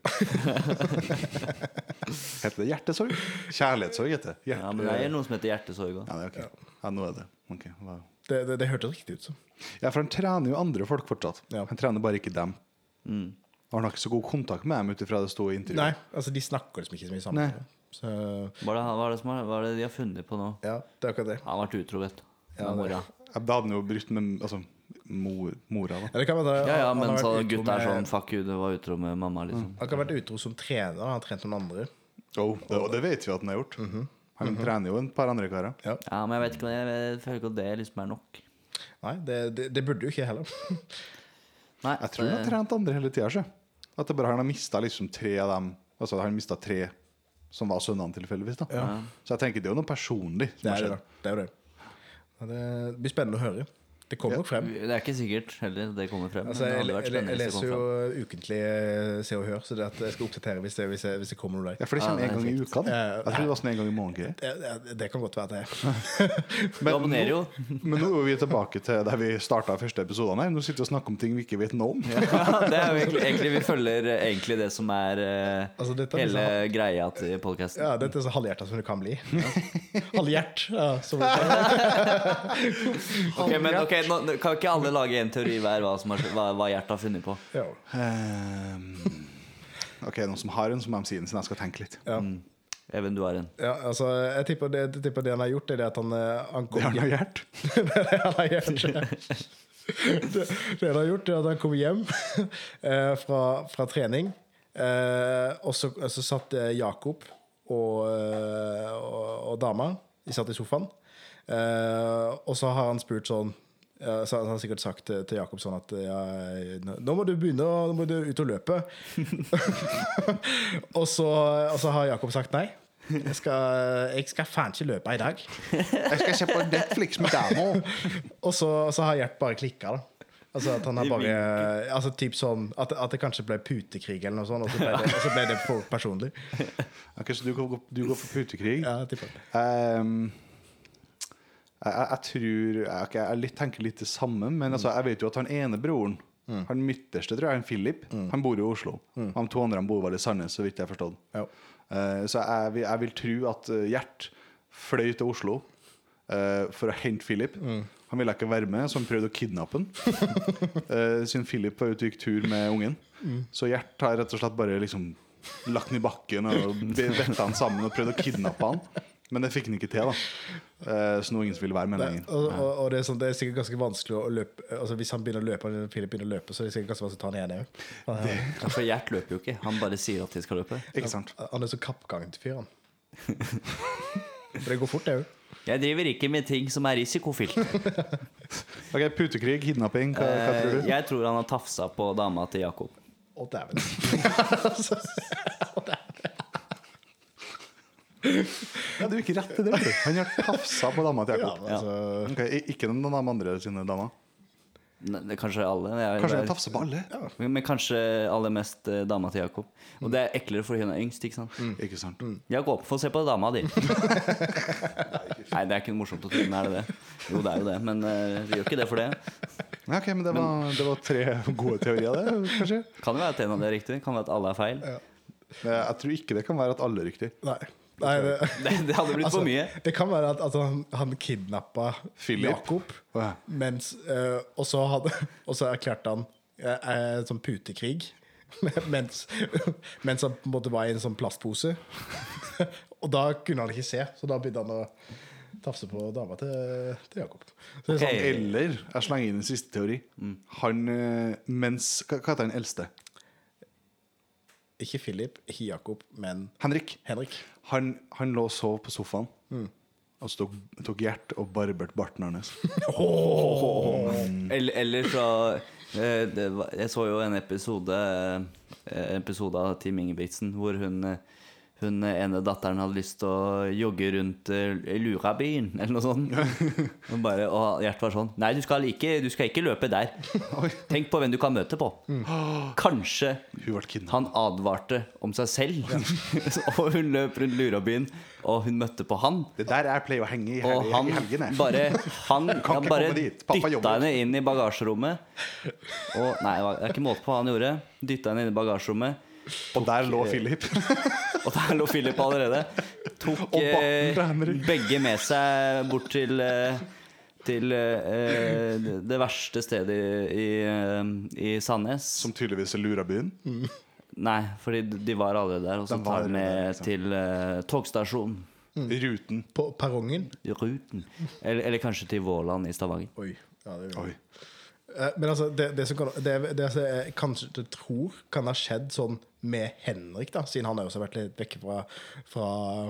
[SPEAKER 2] heter det hjertesorg? Kjærlighetssorg heter det.
[SPEAKER 1] Ja, men det er noe som heter hjertesorg òg.
[SPEAKER 2] Ja, det er ok. Ja, nå er det. Ok, wow.
[SPEAKER 3] Det, det, det hørtes riktig ut som.
[SPEAKER 2] Ja, for han trener jo andre folk fortsatt.
[SPEAKER 3] Ja.
[SPEAKER 2] Han trener bare ikke dem.
[SPEAKER 1] Mm.
[SPEAKER 2] Og han har ikke så god kontakt med dem ut ifra det sto i
[SPEAKER 3] Nei,
[SPEAKER 2] intervjuet.
[SPEAKER 3] altså, de snakker liksom ikke så mye
[SPEAKER 2] Nei.
[SPEAKER 3] sammen. Så,
[SPEAKER 1] Hva er det, hva er det, som har- hva er det de har funnet på nå?
[SPEAKER 3] ja, det er akkurat det.
[SPEAKER 1] Han har vært utro, vet du.
[SPEAKER 3] Ja,
[SPEAKER 1] Med
[SPEAKER 3] det-
[SPEAKER 1] mora.
[SPEAKER 2] Ja, Da hadde han jo brutt med altså, mor, mora, da.
[SPEAKER 3] Ja, det kan
[SPEAKER 1] Ja,
[SPEAKER 3] være,
[SPEAKER 1] ja,
[SPEAKER 3] han har
[SPEAKER 1] men
[SPEAKER 3] vært
[SPEAKER 1] så
[SPEAKER 3] utro
[SPEAKER 1] gutta er
[SPEAKER 3] med-
[SPEAKER 1] sånn Fuck you, det var utro med mamma, liksom.
[SPEAKER 3] Han kan ha vært utro som trener. Han har trent noen andre.
[SPEAKER 2] Oh, det, og det vet vi at han har gjort.
[SPEAKER 1] Mhm.
[SPEAKER 2] Han trener jo en par andre karer.
[SPEAKER 1] Ja, men jeg vet ikke, jeg, jeg føler ikke at det liksom er nok.
[SPEAKER 3] Nei, det, det, det burde jo ikke heller.
[SPEAKER 1] Nei,
[SPEAKER 2] Jeg tror han har
[SPEAKER 1] det,
[SPEAKER 2] trent andre hele tida. sjø. At det bare han har mista liksom tre av dem. Altså han mistet tre som var sønnene tilfeldigvis. da Så jeg tenker det er jo noe personlig som
[SPEAKER 3] Det
[SPEAKER 2] har
[SPEAKER 3] er, det,
[SPEAKER 2] skjedd.
[SPEAKER 3] da. det er jo det. Ja, det blir spennende å høre. Det kommer nok frem.
[SPEAKER 1] det er ikke sikkert heller det kommer frem.
[SPEAKER 3] Altså,
[SPEAKER 1] men det
[SPEAKER 3] jeg,
[SPEAKER 1] hadde vært
[SPEAKER 3] jeg,
[SPEAKER 1] spennende
[SPEAKER 3] jeg
[SPEAKER 1] hvis det
[SPEAKER 3] leser
[SPEAKER 1] kom
[SPEAKER 3] jo
[SPEAKER 1] frem.
[SPEAKER 3] ukentlig eh, Se og Hør, så det at jeg skal oppdatere hvis det, hvis det, hvis det kommer noe der.
[SPEAKER 2] Ja, For det kommer
[SPEAKER 1] Ja, det
[SPEAKER 2] en
[SPEAKER 1] er
[SPEAKER 2] gang i
[SPEAKER 1] fint.
[SPEAKER 2] uka. Det. Jeg tror det var sånn en gang i måneden. greier.
[SPEAKER 3] Det, det, det kan godt være at det er.
[SPEAKER 1] Du abonnerer jo.
[SPEAKER 2] Men nå er vi tilbake til der vi starta første episoden her. Nå sitter vi og snakker om ting vi ikke vet noe om.
[SPEAKER 1] Ja, det er jo egentlig, egentlig Vi følger eh, egentlig det som er eh,
[SPEAKER 3] Altså, dette er
[SPEAKER 1] hele greia til podkasten.
[SPEAKER 3] Ja, dette er så halvhjerta som det kan bli. Halvhjert. Ja, som det kan.
[SPEAKER 1] Ok, men ok, nå, nå Kan ikke alle lage en teori hver hva, som har, skjedd- hva, hva Gjert har funnet på?
[SPEAKER 3] Ja.
[SPEAKER 2] Ehm, ok, noen som har en, så må de si den, så jeg skal tenke litt.
[SPEAKER 3] Ja.
[SPEAKER 1] Even, du har en.
[SPEAKER 3] ja, altså, jeg tipper det, jeg tipper det han har gjort, er det at han, eh, han
[SPEAKER 2] Det
[SPEAKER 3] kom
[SPEAKER 2] har han jo gjort.
[SPEAKER 3] det han har gjort. Det, det han har gjort, er at han kom hjem eh, fra, fra trening, eh, og så, så satt eh, Jakob og, eh, og, og dama De satt i sofaen, eh, og så har han spurt sånn eh, så han har sikkert sagt til til Jakob sånn at ja, nå nå må du begynne å- Nå må du ut og løpe. og, så, og så har Jakob sagt nei. Jeg skal, jeg skal faen ikke løpe i dag.
[SPEAKER 2] Jeg skal se på Netflix med deg nå.
[SPEAKER 3] Og så, så har Gjert bare klikka, da. Altså at han har
[SPEAKER 1] I
[SPEAKER 3] bare Altså typ sånn at, at det kanskje ble putekrig eller noe sånt, og så ble det, og så ble det for personlig.
[SPEAKER 2] Ok, så du går, du går for putekrig?
[SPEAKER 3] Ja, jeg tipper det.
[SPEAKER 2] Ehm, jeg, jeg, jeg tror jeg, ok, jeg litt, tenker litt det samme, men altså, jeg vet jo at han ene broren Han midterste, tror jeg, han Philip, han bor jo i Oslo. Han to andre han bor vel i Sandnes, så vidt jeg har forstått.
[SPEAKER 3] Ja.
[SPEAKER 2] Eh, så jeg, vil- jeg vil tro at eh, Gjert fløy til Oslo eh, for å hente Philip. Han ville ikke være med, så han prøvde å kidnappe han. Eh, siden Philip var ute og gikk tur med ungen. Så Gjert har rett og slett bare liksom lagt den i bakken og vetta han sammen og prøvd å kidnappe han. Men det fikk han ikke til, da. Eh, så nå ingen som ville være med
[SPEAKER 3] Nei,
[SPEAKER 2] lenger.
[SPEAKER 3] og, og, og det, er sånn, det er sikkert ganske vanskelig å løpe Altså Hvis han begynner å løpe, eller Philip begynner å løpe, så er det sikkert ganske vanskelig å ta han igjen òg. Han,
[SPEAKER 1] Ja, For Gjert løper jo ikke. Han bare sier at de skal løpe.
[SPEAKER 2] Ikke sant?
[SPEAKER 3] han er så kappgang til fyren. For det går fort, det òg.
[SPEAKER 1] Jeg driver ikke med ting som er risikofylt.
[SPEAKER 2] Ok, Putekrig, kidnapping, hva, hva tror
[SPEAKER 1] Eh,
[SPEAKER 2] du?
[SPEAKER 1] Jeg tror han har tafsa på dama til Jakob.
[SPEAKER 3] Å, dæven.
[SPEAKER 2] Ja, du gikk rett til det. vet du. Han har tafsa på dama til
[SPEAKER 3] Ja,
[SPEAKER 2] Jakob.
[SPEAKER 3] men altså,
[SPEAKER 2] Ok, i- ikke noen av de andre sine damer.
[SPEAKER 1] Ne- det- Kanskje alle. Jeg,
[SPEAKER 2] Kanskje
[SPEAKER 1] det
[SPEAKER 2] han
[SPEAKER 1] er-
[SPEAKER 2] tafser på alle?
[SPEAKER 1] men kanskje aller mest eh, dama til Jakob. Og det er eklere fordi hun er yngst, ikke sant?
[SPEAKER 2] Ikke sant?
[SPEAKER 1] Jakob, få se på dama di. Nei, det er ikke morsomt å tro, men er det det? Jo, det er jo det, men eh, vi gjør ikke det for det.
[SPEAKER 2] Ja, ok, men det var, det var tre gode teorier, det, kanskje?
[SPEAKER 1] Kan jo være at en av de er riktig, kan være at alle er feil.
[SPEAKER 2] Eh, Jeg tror ikke det kan være at alle er riktig.
[SPEAKER 3] Nei. Nei det,
[SPEAKER 1] Det, det hadde blitt
[SPEAKER 3] altså,
[SPEAKER 1] for mye.
[SPEAKER 3] Det kan være at, at han, han kidnappa
[SPEAKER 2] Philip.
[SPEAKER 3] Jakob,
[SPEAKER 2] Å ja.
[SPEAKER 3] mens, eh, og, så hadde, og så erklærte han eh, eh, sånn putekrig mens, mens han på en måte var i en sånn plastpose. og da kunne han ikke se, så da begynte han å tafse på dama til, til Jakob. Så det er
[SPEAKER 1] Ok.
[SPEAKER 3] sånn,
[SPEAKER 2] Eller jeg slenger inn en siste teori.
[SPEAKER 1] Mm.
[SPEAKER 2] Han eh, mens Hva hva heter han eldste?
[SPEAKER 3] ikke Philip, ikke Jakob, men
[SPEAKER 2] Henrik.
[SPEAKER 3] Henrik.
[SPEAKER 2] Han, han lå og sov på sofaen.
[SPEAKER 1] Mm.
[SPEAKER 2] Og så tok, tok Gjert og barberte barten hans.
[SPEAKER 1] Eller, eller så eh, det var, Jeg så jo en episode eh, Episode av Team Ingebrigtsen Hvor hun eh, Hun ene datteren hadde lyst til å jogge rundt eh, Lurabyen Eller noe sånt Og, bare, og Gjert var sånn Nei, du skal, ikke, du skal ikke løpe der Tenk på hvem du kan møte på Kanskje
[SPEAKER 2] Hun ble kidnappet.
[SPEAKER 1] han advarte om seg selv Og hun løp rundt Lurabyen Og hun møtte på han
[SPEAKER 2] Det der jeg pleier å henge i, hel
[SPEAKER 1] og han
[SPEAKER 2] i helgene.
[SPEAKER 1] bare Han,
[SPEAKER 2] ikke
[SPEAKER 1] han bare
[SPEAKER 2] komme dit. Pappa
[SPEAKER 1] dytta
[SPEAKER 2] jobber.
[SPEAKER 1] henne inn i bagasjerommet. Og Nei, det er ikke måte på hva han gjorde. Dytta henne inn i bagasjerommet.
[SPEAKER 2] og der lå Philip.
[SPEAKER 1] Og der lå Philip allerede. Tok
[SPEAKER 2] Og barten
[SPEAKER 1] eh,
[SPEAKER 2] til Henrik.
[SPEAKER 1] begge med seg bort til eh, til eh, det verste stedet i, i, eh, i Sandnes.
[SPEAKER 2] Som tydeligvis er Lurabyen.
[SPEAKER 1] Nei, fordi de var allerede der. Og så
[SPEAKER 2] De var
[SPEAKER 1] tar han
[SPEAKER 2] allerede der,
[SPEAKER 1] med
[SPEAKER 2] liksom.
[SPEAKER 1] til eh, togstasjonen.
[SPEAKER 2] Ruten.
[SPEAKER 3] På perrongen.
[SPEAKER 1] Ruten. Eller, eller kanskje til Våland i Stavanger.
[SPEAKER 3] Oi. Ja, det er
[SPEAKER 2] Oi.
[SPEAKER 3] Eh, Men altså, det, det som kan, det, det som jeg kanskje det tror kan ha skjedd sånn med Henrik, da, siden han også har vært litt vekk fra, fra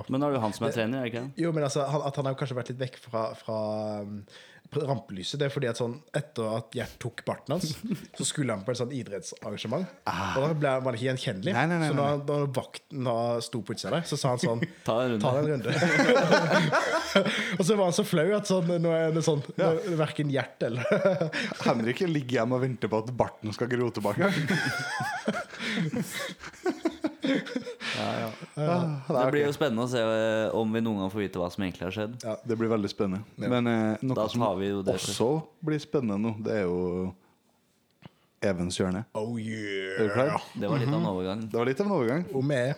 [SPEAKER 1] Men nå er det jo han som er trener, er det ikke det?
[SPEAKER 3] Jo, men altså, han, at han har kanskje vært litt vekk fra, fra um, rampelyset. Det er fordi at sånn, etter at Gjert tok barten hans, så skulle han på et sånt idrettsarrangement. Og da ble han var han ikke gjenkjennelig.
[SPEAKER 2] Ah. Nei, nei, nei,
[SPEAKER 3] så når, når vakten da sto på utsida der, så sa han sånn
[SPEAKER 1] Ta en runde.
[SPEAKER 3] Ta deg en runde. og så var han så flau at sånn, nå er det sånn nå- Verken Gjert eller
[SPEAKER 2] Henrik ligger hjemme og venter på at barten skal gro tilbake. Ah,
[SPEAKER 1] Det
[SPEAKER 2] det, er
[SPEAKER 1] blir
[SPEAKER 2] ok.
[SPEAKER 1] jo spennende å se eh, om vi noen gang får vite hva som egentlig har skjedd.
[SPEAKER 2] ja, det blir veldig spennende. Men eh, noe
[SPEAKER 1] Da
[SPEAKER 2] som
[SPEAKER 1] tar vi jo det først.
[SPEAKER 2] også blir spennende nå, det er jo Evens hjørne.
[SPEAKER 3] Oh
[SPEAKER 2] Er du
[SPEAKER 3] yeah!
[SPEAKER 2] klar?
[SPEAKER 1] Det var litt
[SPEAKER 2] Mhm.
[SPEAKER 1] av en overgang.
[SPEAKER 2] Det var litt av en overgang.
[SPEAKER 3] Om jeg er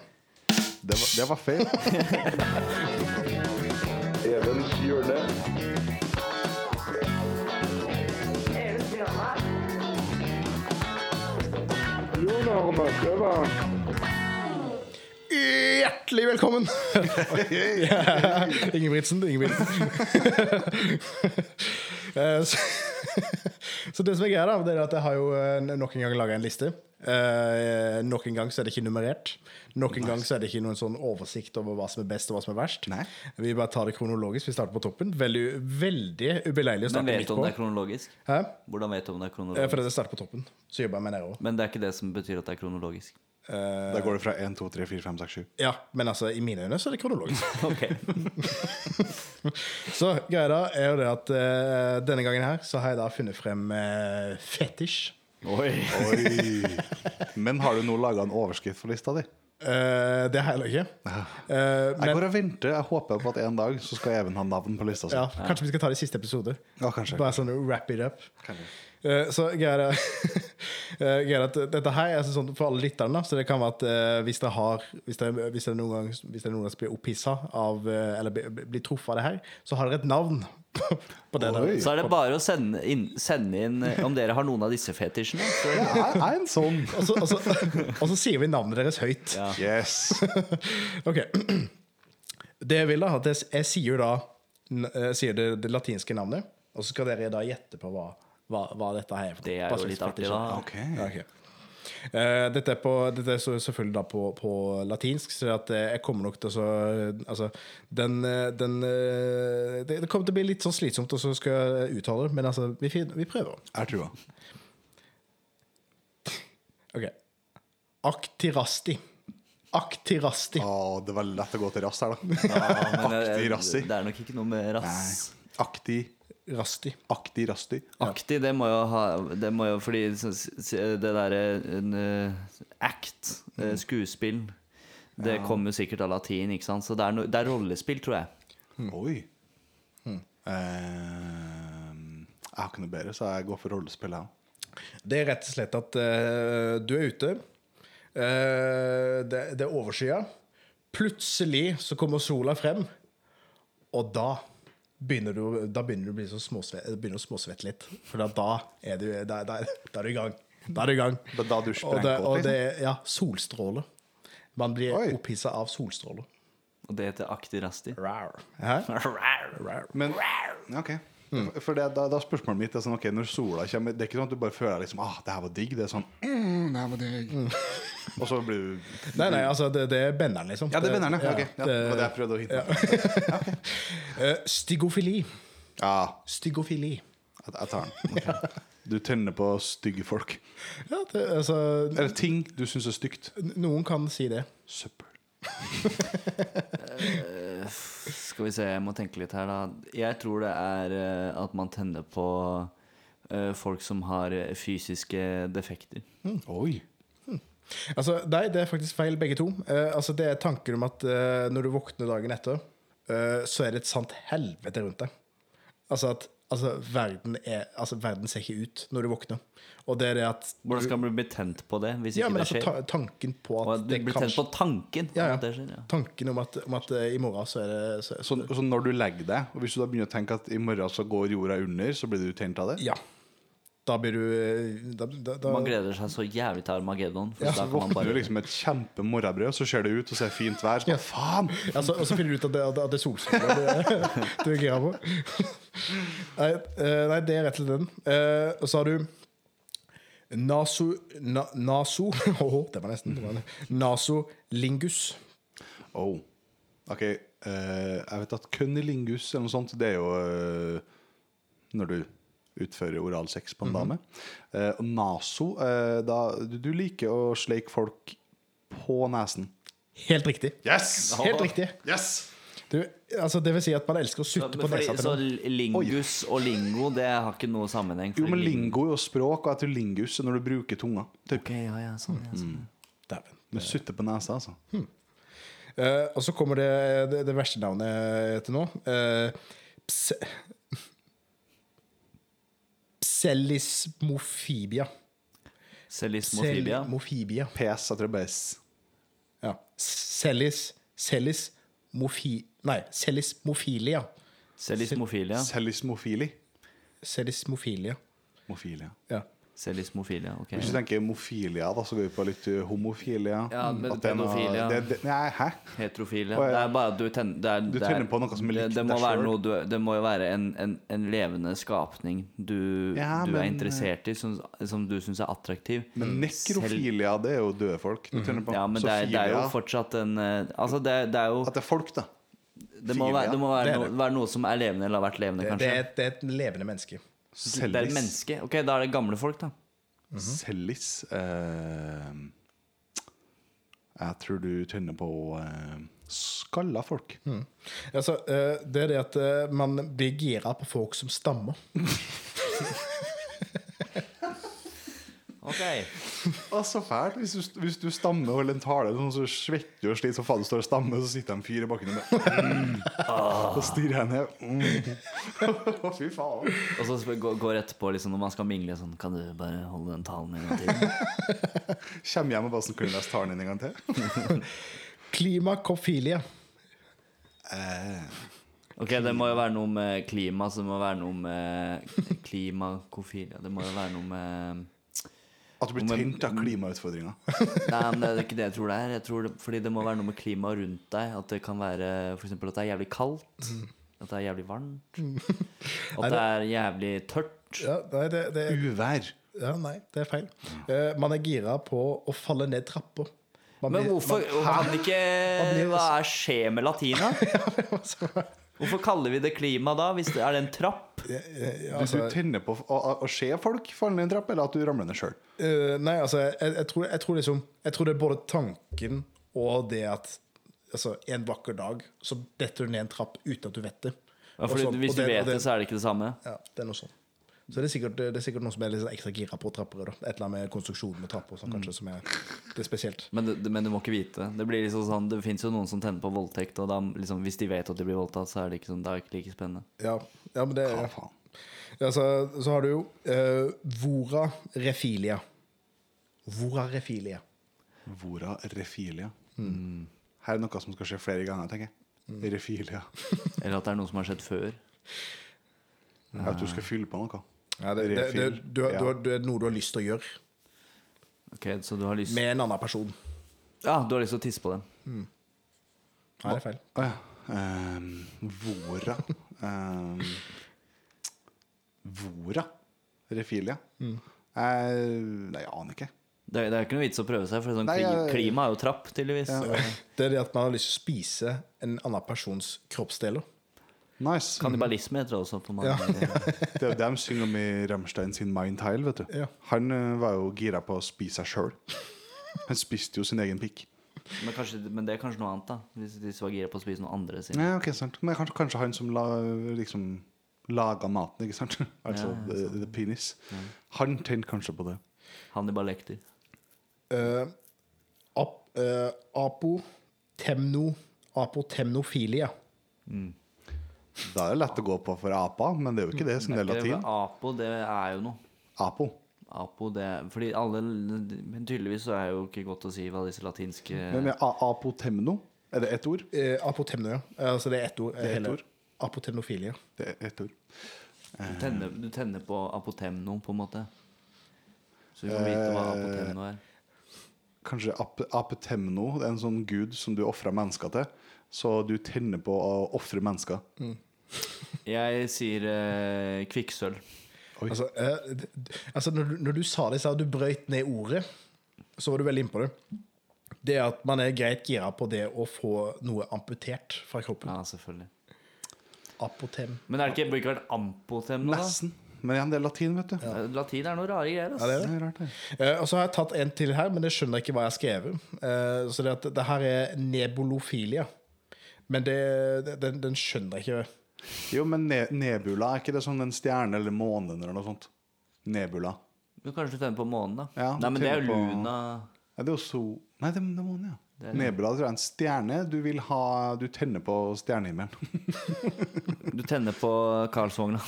[SPEAKER 2] Det var, det var feil. Evens hjørne.
[SPEAKER 3] Hjertelig velkommen! Ingebrigtsen, Ingebrigtsen. Eh, så, så det som er greia, da, det er at jeg har jo eh, nok en gang laga en liste. Eh, nok en gang så er det ikke nummerert. Nok en gang så er det ikke noen sånn oversikt over hva som er best og hva som er verst.
[SPEAKER 2] Nei.
[SPEAKER 3] Vi bare tar det kronologisk. Vi starter på toppen. Veldig, veldig ubeleilig å
[SPEAKER 1] Men
[SPEAKER 3] starte
[SPEAKER 1] vet
[SPEAKER 3] midt
[SPEAKER 1] du om
[SPEAKER 3] på.
[SPEAKER 1] det er kronologisk?
[SPEAKER 3] Hæ?
[SPEAKER 1] Hvordan vet du om det er
[SPEAKER 3] Eh,
[SPEAKER 1] kronologisk?
[SPEAKER 3] For det starter på toppen. Så jobber jeg meg nedover.
[SPEAKER 1] Men det er ikke det som betyr at det er kronologisk.
[SPEAKER 3] Eh,
[SPEAKER 2] Da går det fra 1, 2, 3, 4, 5, 6, 7.
[SPEAKER 3] ja, men altså, i mine øyne så er det kronologisk.
[SPEAKER 1] Ok,
[SPEAKER 3] Så greia da er jo det at eh, denne gangen her så har jeg da funnet frem eh, fetisj.
[SPEAKER 1] Oi.
[SPEAKER 2] Oi. Men har du nå laga en overskrift for lista di?
[SPEAKER 3] Eh, det har jeg heller ikke. Eh,
[SPEAKER 2] Jeg
[SPEAKER 3] men
[SPEAKER 2] går og venter. Jeg håper på at en dag så skal Even ha navn på lista si.
[SPEAKER 3] ja, kanskje vi skal ta det i siste episode.
[SPEAKER 2] Ja, kanskje.
[SPEAKER 3] Bare sånn wrap it up. Eh, så greia er eh, greia er at dette her er sånn for alle lytterne, da, så det kan være at eh, hvis dere har Hvis dere, hvis dere noen gang Hvis dere noen gang blir opphissa av eh, eller blir- blir truffet av det her, så har dere et navn på, på det.
[SPEAKER 2] Oi.
[SPEAKER 3] der.
[SPEAKER 1] Så er det bare å sende inn, sende inn eh, om dere har noen av disse fetisjene. Så
[SPEAKER 2] Jeg er en sånn.
[SPEAKER 3] Og så, og, så, og så sier vi navnet deres høyt.
[SPEAKER 1] Ja.
[SPEAKER 2] Yes.
[SPEAKER 3] Ok. Det jeg vil, da, at jeg, jeg sier jo da n- eh, sier det, det latinske navnet, og så skal dere da gjette på hva, hva, hva dette her er. for noe.
[SPEAKER 1] det er
[SPEAKER 3] Hva
[SPEAKER 1] jo
[SPEAKER 3] slags
[SPEAKER 1] litt artig,
[SPEAKER 3] fetisj.
[SPEAKER 1] da.
[SPEAKER 2] Ok.
[SPEAKER 3] Ja, ok. Eh, dette, er på, dette er så selvfølgelig da på, på latinsk, så at eh, jeg kommer nok til å så- altså, den, eh, den, eh, det, det kommer til å bli litt sånn slitsomt å så skal jeg uttale det, men altså, vi, fin- vi prøver.
[SPEAKER 2] Jeg trua.
[SPEAKER 3] Ok. Aktirasti. Aktirasti.
[SPEAKER 2] Å, det var lett å gå til rass her, da.
[SPEAKER 1] Ja, men, eh,
[SPEAKER 2] Aktig rassi.
[SPEAKER 1] Det er nok ikke noe med rass.
[SPEAKER 2] Aktig,
[SPEAKER 3] Rasti.
[SPEAKER 2] aktig rasti.
[SPEAKER 1] Aktig, det må jo ha det må jo, Fordi s- s- det derre eh, act,
[SPEAKER 2] Mhm.
[SPEAKER 1] eh, skuespill, det kommer jo sikkert av latin, ikke sant? Så det er, no, det er rollespill, tror jeg.
[SPEAKER 2] Oi.
[SPEAKER 1] Hmm.
[SPEAKER 2] Ehm, jeg har ikke noe bedre, så jeg går for rollespill, jeg òg.
[SPEAKER 3] Det er rett og slett at eh, du er ute. Eh, det, det er overskya. Plutselig så kommer sola frem, og da begynner du, da begynner du å bli så småsvett, begynner du å småsvette litt. For da, da, er du, da, da, da er du i gang. Da er du i gang.
[SPEAKER 2] Da- da du
[SPEAKER 3] og det,
[SPEAKER 2] sprengkåt,
[SPEAKER 3] og
[SPEAKER 2] liksom.
[SPEAKER 3] det er ja, solstråler. Man blir
[SPEAKER 2] Oi.
[SPEAKER 3] opphissa av solstråler.
[SPEAKER 1] Og det heter aktirasti.
[SPEAKER 3] Rar. Hæ?
[SPEAKER 2] Men, ja, ok For- For det, da, da spørsmålet mitt er sånn, ok, når sola kommer Det er ikke sånn at du bare føler liksom, ah, det her var digg Det er sånn, mm, det her var digg Og så blir du
[SPEAKER 3] Nei, nei, altså, det, det er benderen, liksom.
[SPEAKER 2] Ja, det er vennerne, ok ja, Det var det jeg prøvde å hitte på.
[SPEAKER 3] Eh, Stygofili.
[SPEAKER 2] Ja,
[SPEAKER 3] Stygofili.
[SPEAKER 2] jeg, jeg tar den Ok. Du tenner på stygge folk
[SPEAKER 3] Ja, det, altså
[SPEAKER 2] Eller ting du synes er stygt
[SPEAKER 3] n- Noen kan si det.
[SPEAKER 2] Søppel
[SPEAKER 1] Eh, Skal vi se, jeg må tenke litt her, da. Jeg tror det er eh, at man tenner på eh, folk som har eh, fysiske defekter.
[SPEAKER 2] Oi
[SPEAKER 3] Altså, nei, det er faktisk feil, begge to. Eh, altså, det er tanken om at eh, når du våkner dagen etter, eh, så er det et sant helvete rundt deg. Altså at altså, verden, er, altså, verden ser ikke ut når du våkner. Og det er det at
[SPEAKER 1] Hvordan skal man bli tent på det hvis ikke
[SPEAKER 3] Ja, men
[SPEAKER 1] det
[SPEAKER 3] altså,
[SPEAKER 1] skjer?
[SPEAKER 3] ta tanken på
[SPEAKER 1] Og
[SPEAKER 3] at
[SPEAKER 1] at du
[SPEAKER 3] det
[SPEAKER 1] blir tent
[SPEAKER 3] kanskje
[SPEAKER 1] på tanken
[SPEAKER 3] ja,
[SPEAKER 1] om
[SPEAKER 3] ja.
[SPEAKER 1] at det skjer. Ja.
[SPEAKER 3] Tanken om at, om at eh, i morgen så er det så,
[SPEAKER 2] så, så når du legger deg Og hvis du da begynner å tenke at i morgen så går jorda under Så blir du tent av det
[SPEAKER 3] Ja. Da blir du eh, da, da, da,
[SPEAKER 1] Man gleder seg så jævlig til Armageddon. For
[SPEAKER 2] Ja,
[SPEAKER 1] da
[SPEAKER 2] så
[SPEAKER 1] kan man
[SPEAKER 2] våkner du
[SPEAKER 1] bare
[SPEAKER 2] liksom med et kjempe morgenbrød, så ser det ut og ser fint vær. Så,
[SPEAKER 3] Ja.
[SPEAKER 2] bare, faen!
[SPEAKER 3] Ja, så, og så finner du ut at det, at det- at det er solstråler du, du er gira på. Nei, eh, nei, det er rett og slett den. Eh, Og så har du Naso... Na, naso Åh, det var nesten. det var det. Nasolingus.
[SPEAKER 2] Oh. Ok, eh, jeg vet at cunnilingus eller noe sånt, det er jo eh, når du utfører oral sex på en dame. Eh, og naso, eh, da, du, du liker å sleike folk på nesen.
[SPEAKER 3] Helt riktig.
[SPEAKER 2] Yes!
[SPEAKER 3] Helt riktig.
[SPEAKER 2] Yes!
[SPEAKER 3] Du, altså, det vil si at man elsker å
[SPEAKER 1] Ja,
[SPEAKER 3] sutte
[SPEAKER 1] men
[SPEAKER 3] på
[SPEAKER 1] fordi,
[SPEAKER 3] nesa til
[SPEAKER 1] så
[SPEAKER 3] noen.
[SPEAKER 1] lingus og lingo, det har ikke noe sammenheng.
[SPEAKER 2] Jo,
[SPEAKER 1] fordi
[SPEAKER 2] men
[SPEAKER 1] ling-
[SPEAKER 2] lingo er jo språk, og jeg tror lingus er når du bruker tunga. Typ.
[SPEAKER 1] Ok, ja, ja, sånn, ja, sånn.
[SPEAKER 3] Mm. Dæven.
[SPEAKER 2] Men sutte på nesa, altså.
[SPEAKER 1] Hm.
[SPEAKER 3] Eh, og så kommer det, det, det verste navnet til nå. Eh, pse, pselismofibia.
[SPEAKER 1] Celismofibia.
[SPEAKER 3] Selimofibia.
[SPEAKER 2] PS, jeg tror det er S.
[SPEAKER 3] Ja. Sellis Sellis mofi... Nei, sellismofilia.
[SPEAKER 1] Celismofilia.
[SPEAKER 2] Sellismofili.
[SPEAKER 3] Sellismofilia.
[SPEAKER 2] Mofilia.
[SPEAKER 3] Ja.
[SPEAKER 1] Celismofilia, ok.
[SPEAKER 2] Hvis du tenker homofilia, da, så går vi på litt uh, homofilia.
[SPEAKER 1] Ja, men
[SPEAKER 2] At det er noe-
[SPEAKER 1] pedofilia.
[SPEAKER 2] det, det, Nei, hæ?
[SPEAKER 1] Heterofilia.
[SPEAKER 2] Å, ja.
[SPEAKER 1] Det er bare at du tenner det er,
[SPEAKER 2] Du
[SPEAKER 1] det er-
[SPEAKER 2] tenner på noe som er likt
[SPEAKER 1] det, det må
[SPEAKER 2] deg
[SPEAKER 1] være
[SPEAKER 2] selv.
[SPEAKER 1] noe du, Det må jo være en, en, en levende skapning du,
[SPEAKER 2] Ja,
[SPEAKER 1] du er
[SPEAKER 2] men- eh,
[SPEAKER 1] interessert i, som, som du syns er attraktiv.
[SPEAKER 2] Men nekrofilia, det er jo døde folk. Du tenner på
[SPEAKER 1] Mm. Mhm. Ja, men det er, det er jo
[SPEAKER 2] Sofilia,
[SPEAKER 1] fortsatt en eh, Altså, det, det er jo
[SPEAKER 2] At det er folk, da.
[SPEAKER 1] Det må, være, det må
[SPEAKER 3] Det
[SPEAKER 1] være,
[SPEAKER 3] er
[SPEAKER 1] noe, være noe som er levende, eller har vært levende,
[SPEAKER 3] Det, det,
[SPEAKER 1] kanskje.
[SPEAKER 3] er, det er et levende menneske.
[SPEAKER 1] Det er et
[SPEAKER 2] Sellis.
[SPEAKER 1] menneske. Ok, da er det gamle folk, da.
[SPEAKER 2] Mhm. Sellis. eh, jeg tror du tenner på eh, skalla folk.
[SPEAKER 1] Mm.
[SPEAKER 3] Altså, eh, det er det at eh, man blir gira på folk som stammer.
[SPEAKER 1] Ok.
[SPEAKER 2] Å, så fælt. Hvis du, hvis du stammer og holder en tale, sånn, så svetter du og sliter så faen du står og stammer, og så sitter det en fyr i bakken og bare
[SPEAKER 1] Ah.
[SPEAKER 2] mm. Så stirrer jeg ned. Mm. Å, Fy faen.
[SPEAKER 1] Og så spør- går går etterpå, liksom, når man skal mingle, sånn Kan du bare holde den talen en gang til?
[SPEAKER 2] Kjem hjem og bare sånn, kunne lest talen din en gang til.
[SPEAKER 3] Klimakofilia.
[SPEAKER 1] Eh. Ok, det må jo være noe med klima, så det må være noe med klimakofilia Det må jo være noe med
[SPEAKER 2] At du blir
[SPEAKER 1] Men-
[SPEAKER 2] tent av klimautfordringer.
[SPEAKER 1] Nei, men det er ikke det jeg tror det er. Jeg tror det, fordi det må være noe med klimaet rundt deg. At det kan være f.eks. at det er jævlig kaldt. At det er jævlig varmt. At det er jævlig tørt.
[SPEAKER 3] Ja, nei, det, det,
[SPEAKER 2] Uvær.
[SPEAKER 3] ja, nei, det er feil. Eh, man er gira på å falle ned trapper. Man
[SPEAKER 1] Men
[SPEAKER 3] blir-
[SPEAKER 1] hvorfor kan det ikke Hva er skje med latina? Hvorfor kaller vi det klima da? Hvis det, er det en trapp?
[SPEAKER 2] Hvis Altså,
[SPEAKER 3] Altså,
[SPEAKER 2] du tenner på å, å, å se folk falle ned en trapp, eller at du ramler ned sjøl.
[SPEAKER 3] Eh, nei, altså, jeg, jeg, tror, jeg tror liksom Jeg tror det er både tanken og det at Altså, en vakker dag så detter du ned en trapp uten at du vet det.
[SPEAKER 1] Ja,
[SPEAKER 3] Og sånn,
[SPEAKER 1] fordi
[SPEAKER 3] og
[SPEAKER 1] hvis du
[SPEAKER 3] og
[SPEAKER 1] vet det, så er det ikke det samme.
[SPEAKER 3] Ja, det er noe sånn. Så det er sikkert, det er sikkert noen som er litt sånn ekstra gira på trapper. Da. Et eller annet med konstruksjonen med trapper og sånn,
[SPEAKER 1] Mm.
[SPEAKER 3] kanskje, som er det er spesielt.
[SPEAKER 1] Men, det- det- men du må ikke vite. Det blir liksom sånn, det fins jo noen som tenner på voldtekt, og da, liksom, hvis de vet at de blir voldtatt, så er det ikke, sånn, da er det ikke like spennende.
[SPEAKER 3] Ja, ja men det
[SPEAKER 2] Hva
[SPEAKER 3] ja,
[SPEAKER 2] faen?
[SPEAKER 3] så, så har du jo eh, Vora refilia. Vora refilia.
[SPEAKER 2] Vora refilia. Mm. Her er noe som skal skje flere ganger, tenker jeg.
[SPEAKER 3] Mm.
[SPEAKER 2] Refilia.
[SPEAKER 1] Eller at det er noe som har skjedd før.
[SPEAKER 2] At du skal fylle på noe.
[SPEAKER 3] Mm. Ja, det, det, det,
[SPEAKER 2] Refil.
[SPEAKER 3] du, har-
[SPEAKER 2] Ja.
[SPEAKER 3] du, har- det er noe du har lyst til å gjøre.
[SPEAKER 1] Ok, Så du har lyst
[SPEAKER 3] med en annen person.
[SPEAKER 1] Ja, du har lyst til å tisse på dem?
[SPEAKER 3] Nei, det er feil.
[SPEAKER 2] Å ja. Ehm, Vora. Ehm, Vora Refilia.
[SPEAKER 3] Mm.
[SPEAKER 2] Eh, nei, jeg aner ikke.
[SPEAKER 1] Det er, det er ikke noe vits å prøve seg, for sånn
[SPEAKER 2] Nei,
[SPEAKER 1] kli-
[SPEAKER 2] jeg-
[SPEAKER 1] klima er jo trapp, tydeligvis. Så
[SPEAKER 3] Det er det at man har lyst til å spise en annen persons kroppsdeler.
[SPEAKER 2] Nice.
[SPEAKER 1] Kannibalisme heter det også på mange måter.
[SPEAKER 2] Det er jo det de synger om i Rammstein sin Mind Tile. Vet du.
[SPEAKER 3] Ja.
[SPEAKER 2] Han eh, var jo gira på å spise seg sjøl. Han spiste jo sin egen pikk.
[SPEAKER 1] Men, kanskje, men det er kanskje noe annet, da. Hvis de var gira på å spise noe andre sin.
[SPEAKER 2] Ja, ok, sant. Men kanskje, kanskje han som la, liksom, laga maten, ikke sant? altså the, the penis. Han tenkte kanskje på det.
[SPEAKER 1] Hannibal Lekter.
[SPEAKER 3] Eh, ap, eh, apotemno, apotemnofilia.
[SPEAKER 2] Da er det lett å gå på for apa, men det er jo ikke det, siden Mm, det er
[SPEAKER 1] Det
[SPEAKER 2] latin.
[SPEAKER 1] med Apo, det er jo noe.
[SPEAKER 2] Apo.
[SPEAKER 1] Apo, det er, Fordi alle Men tydeligvis så er jo ikke godt å si hva disse latinske
[SPEAKER 2] Men med a apotemno, er det ett ord?
[SPEAKER 3] Eh, apotemno, ja. Eh, Altså det er ett ord.
[SPEAKER 2] er ett
[SPEAKER 3] hele.
[SPEAKER 2] ord.
[SPEAKER 3] Apotemnofilia.
[SPEAKER 2] Det er ett ord.
[SPEAKER 1] Du tenner, du tenner på apotemno, på en måte. Så vi får vite hva apotemno er.
[SPEAKER 2] Kanskje ap apotemno, det er en sånn gud som du ofrer mennesker til. Så du tenner på å ofre mennesker.
[SPEAKER 1] Jeg sier eh, kvikksølv.
[SPEAKER 3] Altså, eh, d- d- altså når, du, når du sa det, så du brøyt ned ordet, så var du veldig inne på det. Det er at man er greit gira på det å få noe amputert fra kroppen.
[SPEAKER 1] Ja, selvfølgelig.
[SPEAKER 3] Apotem.
[SPEAKER 1] Men er det ikke, burde ikke vært ampotemno, da?
[SPEAKER 2] Nesten. Men igjen, det er latin, vet du.
[SPEAKER 1] Eh, Latin er noen rare greier. ass.
[SPEAKER 2] Det er rart, det.
[SPEAKER 3] Eh, og så har jeg tatt en til her, men jeg skjønner ikke hva jeg har skrevet. Eh, så det, at, det her er nebolofilia. Men det, det- den, den skjønner jeg ikke.
[SPEAKER 2] Jo, men ne nebula, er ikke det sånn en stjerne eller måne eller noe sånt? Nebula.
[SPEAKER 1] Men kanskje du tenner på månen, da.
[SPEAKER 2] Ja,
[SPEAKER 1] Nei, men det er jo
[SPEAKER 2] tenner på-
[SPEAKER 1] luna
[SPEAKER 2] Ja, det er jo sol Nei, det er det er måne, ja. Nebula tror jeg er en stjerne. Du vil ha Du tenner på stjernehimmelen.
[SPEAKER 1] Du tenner på Karlsvogna.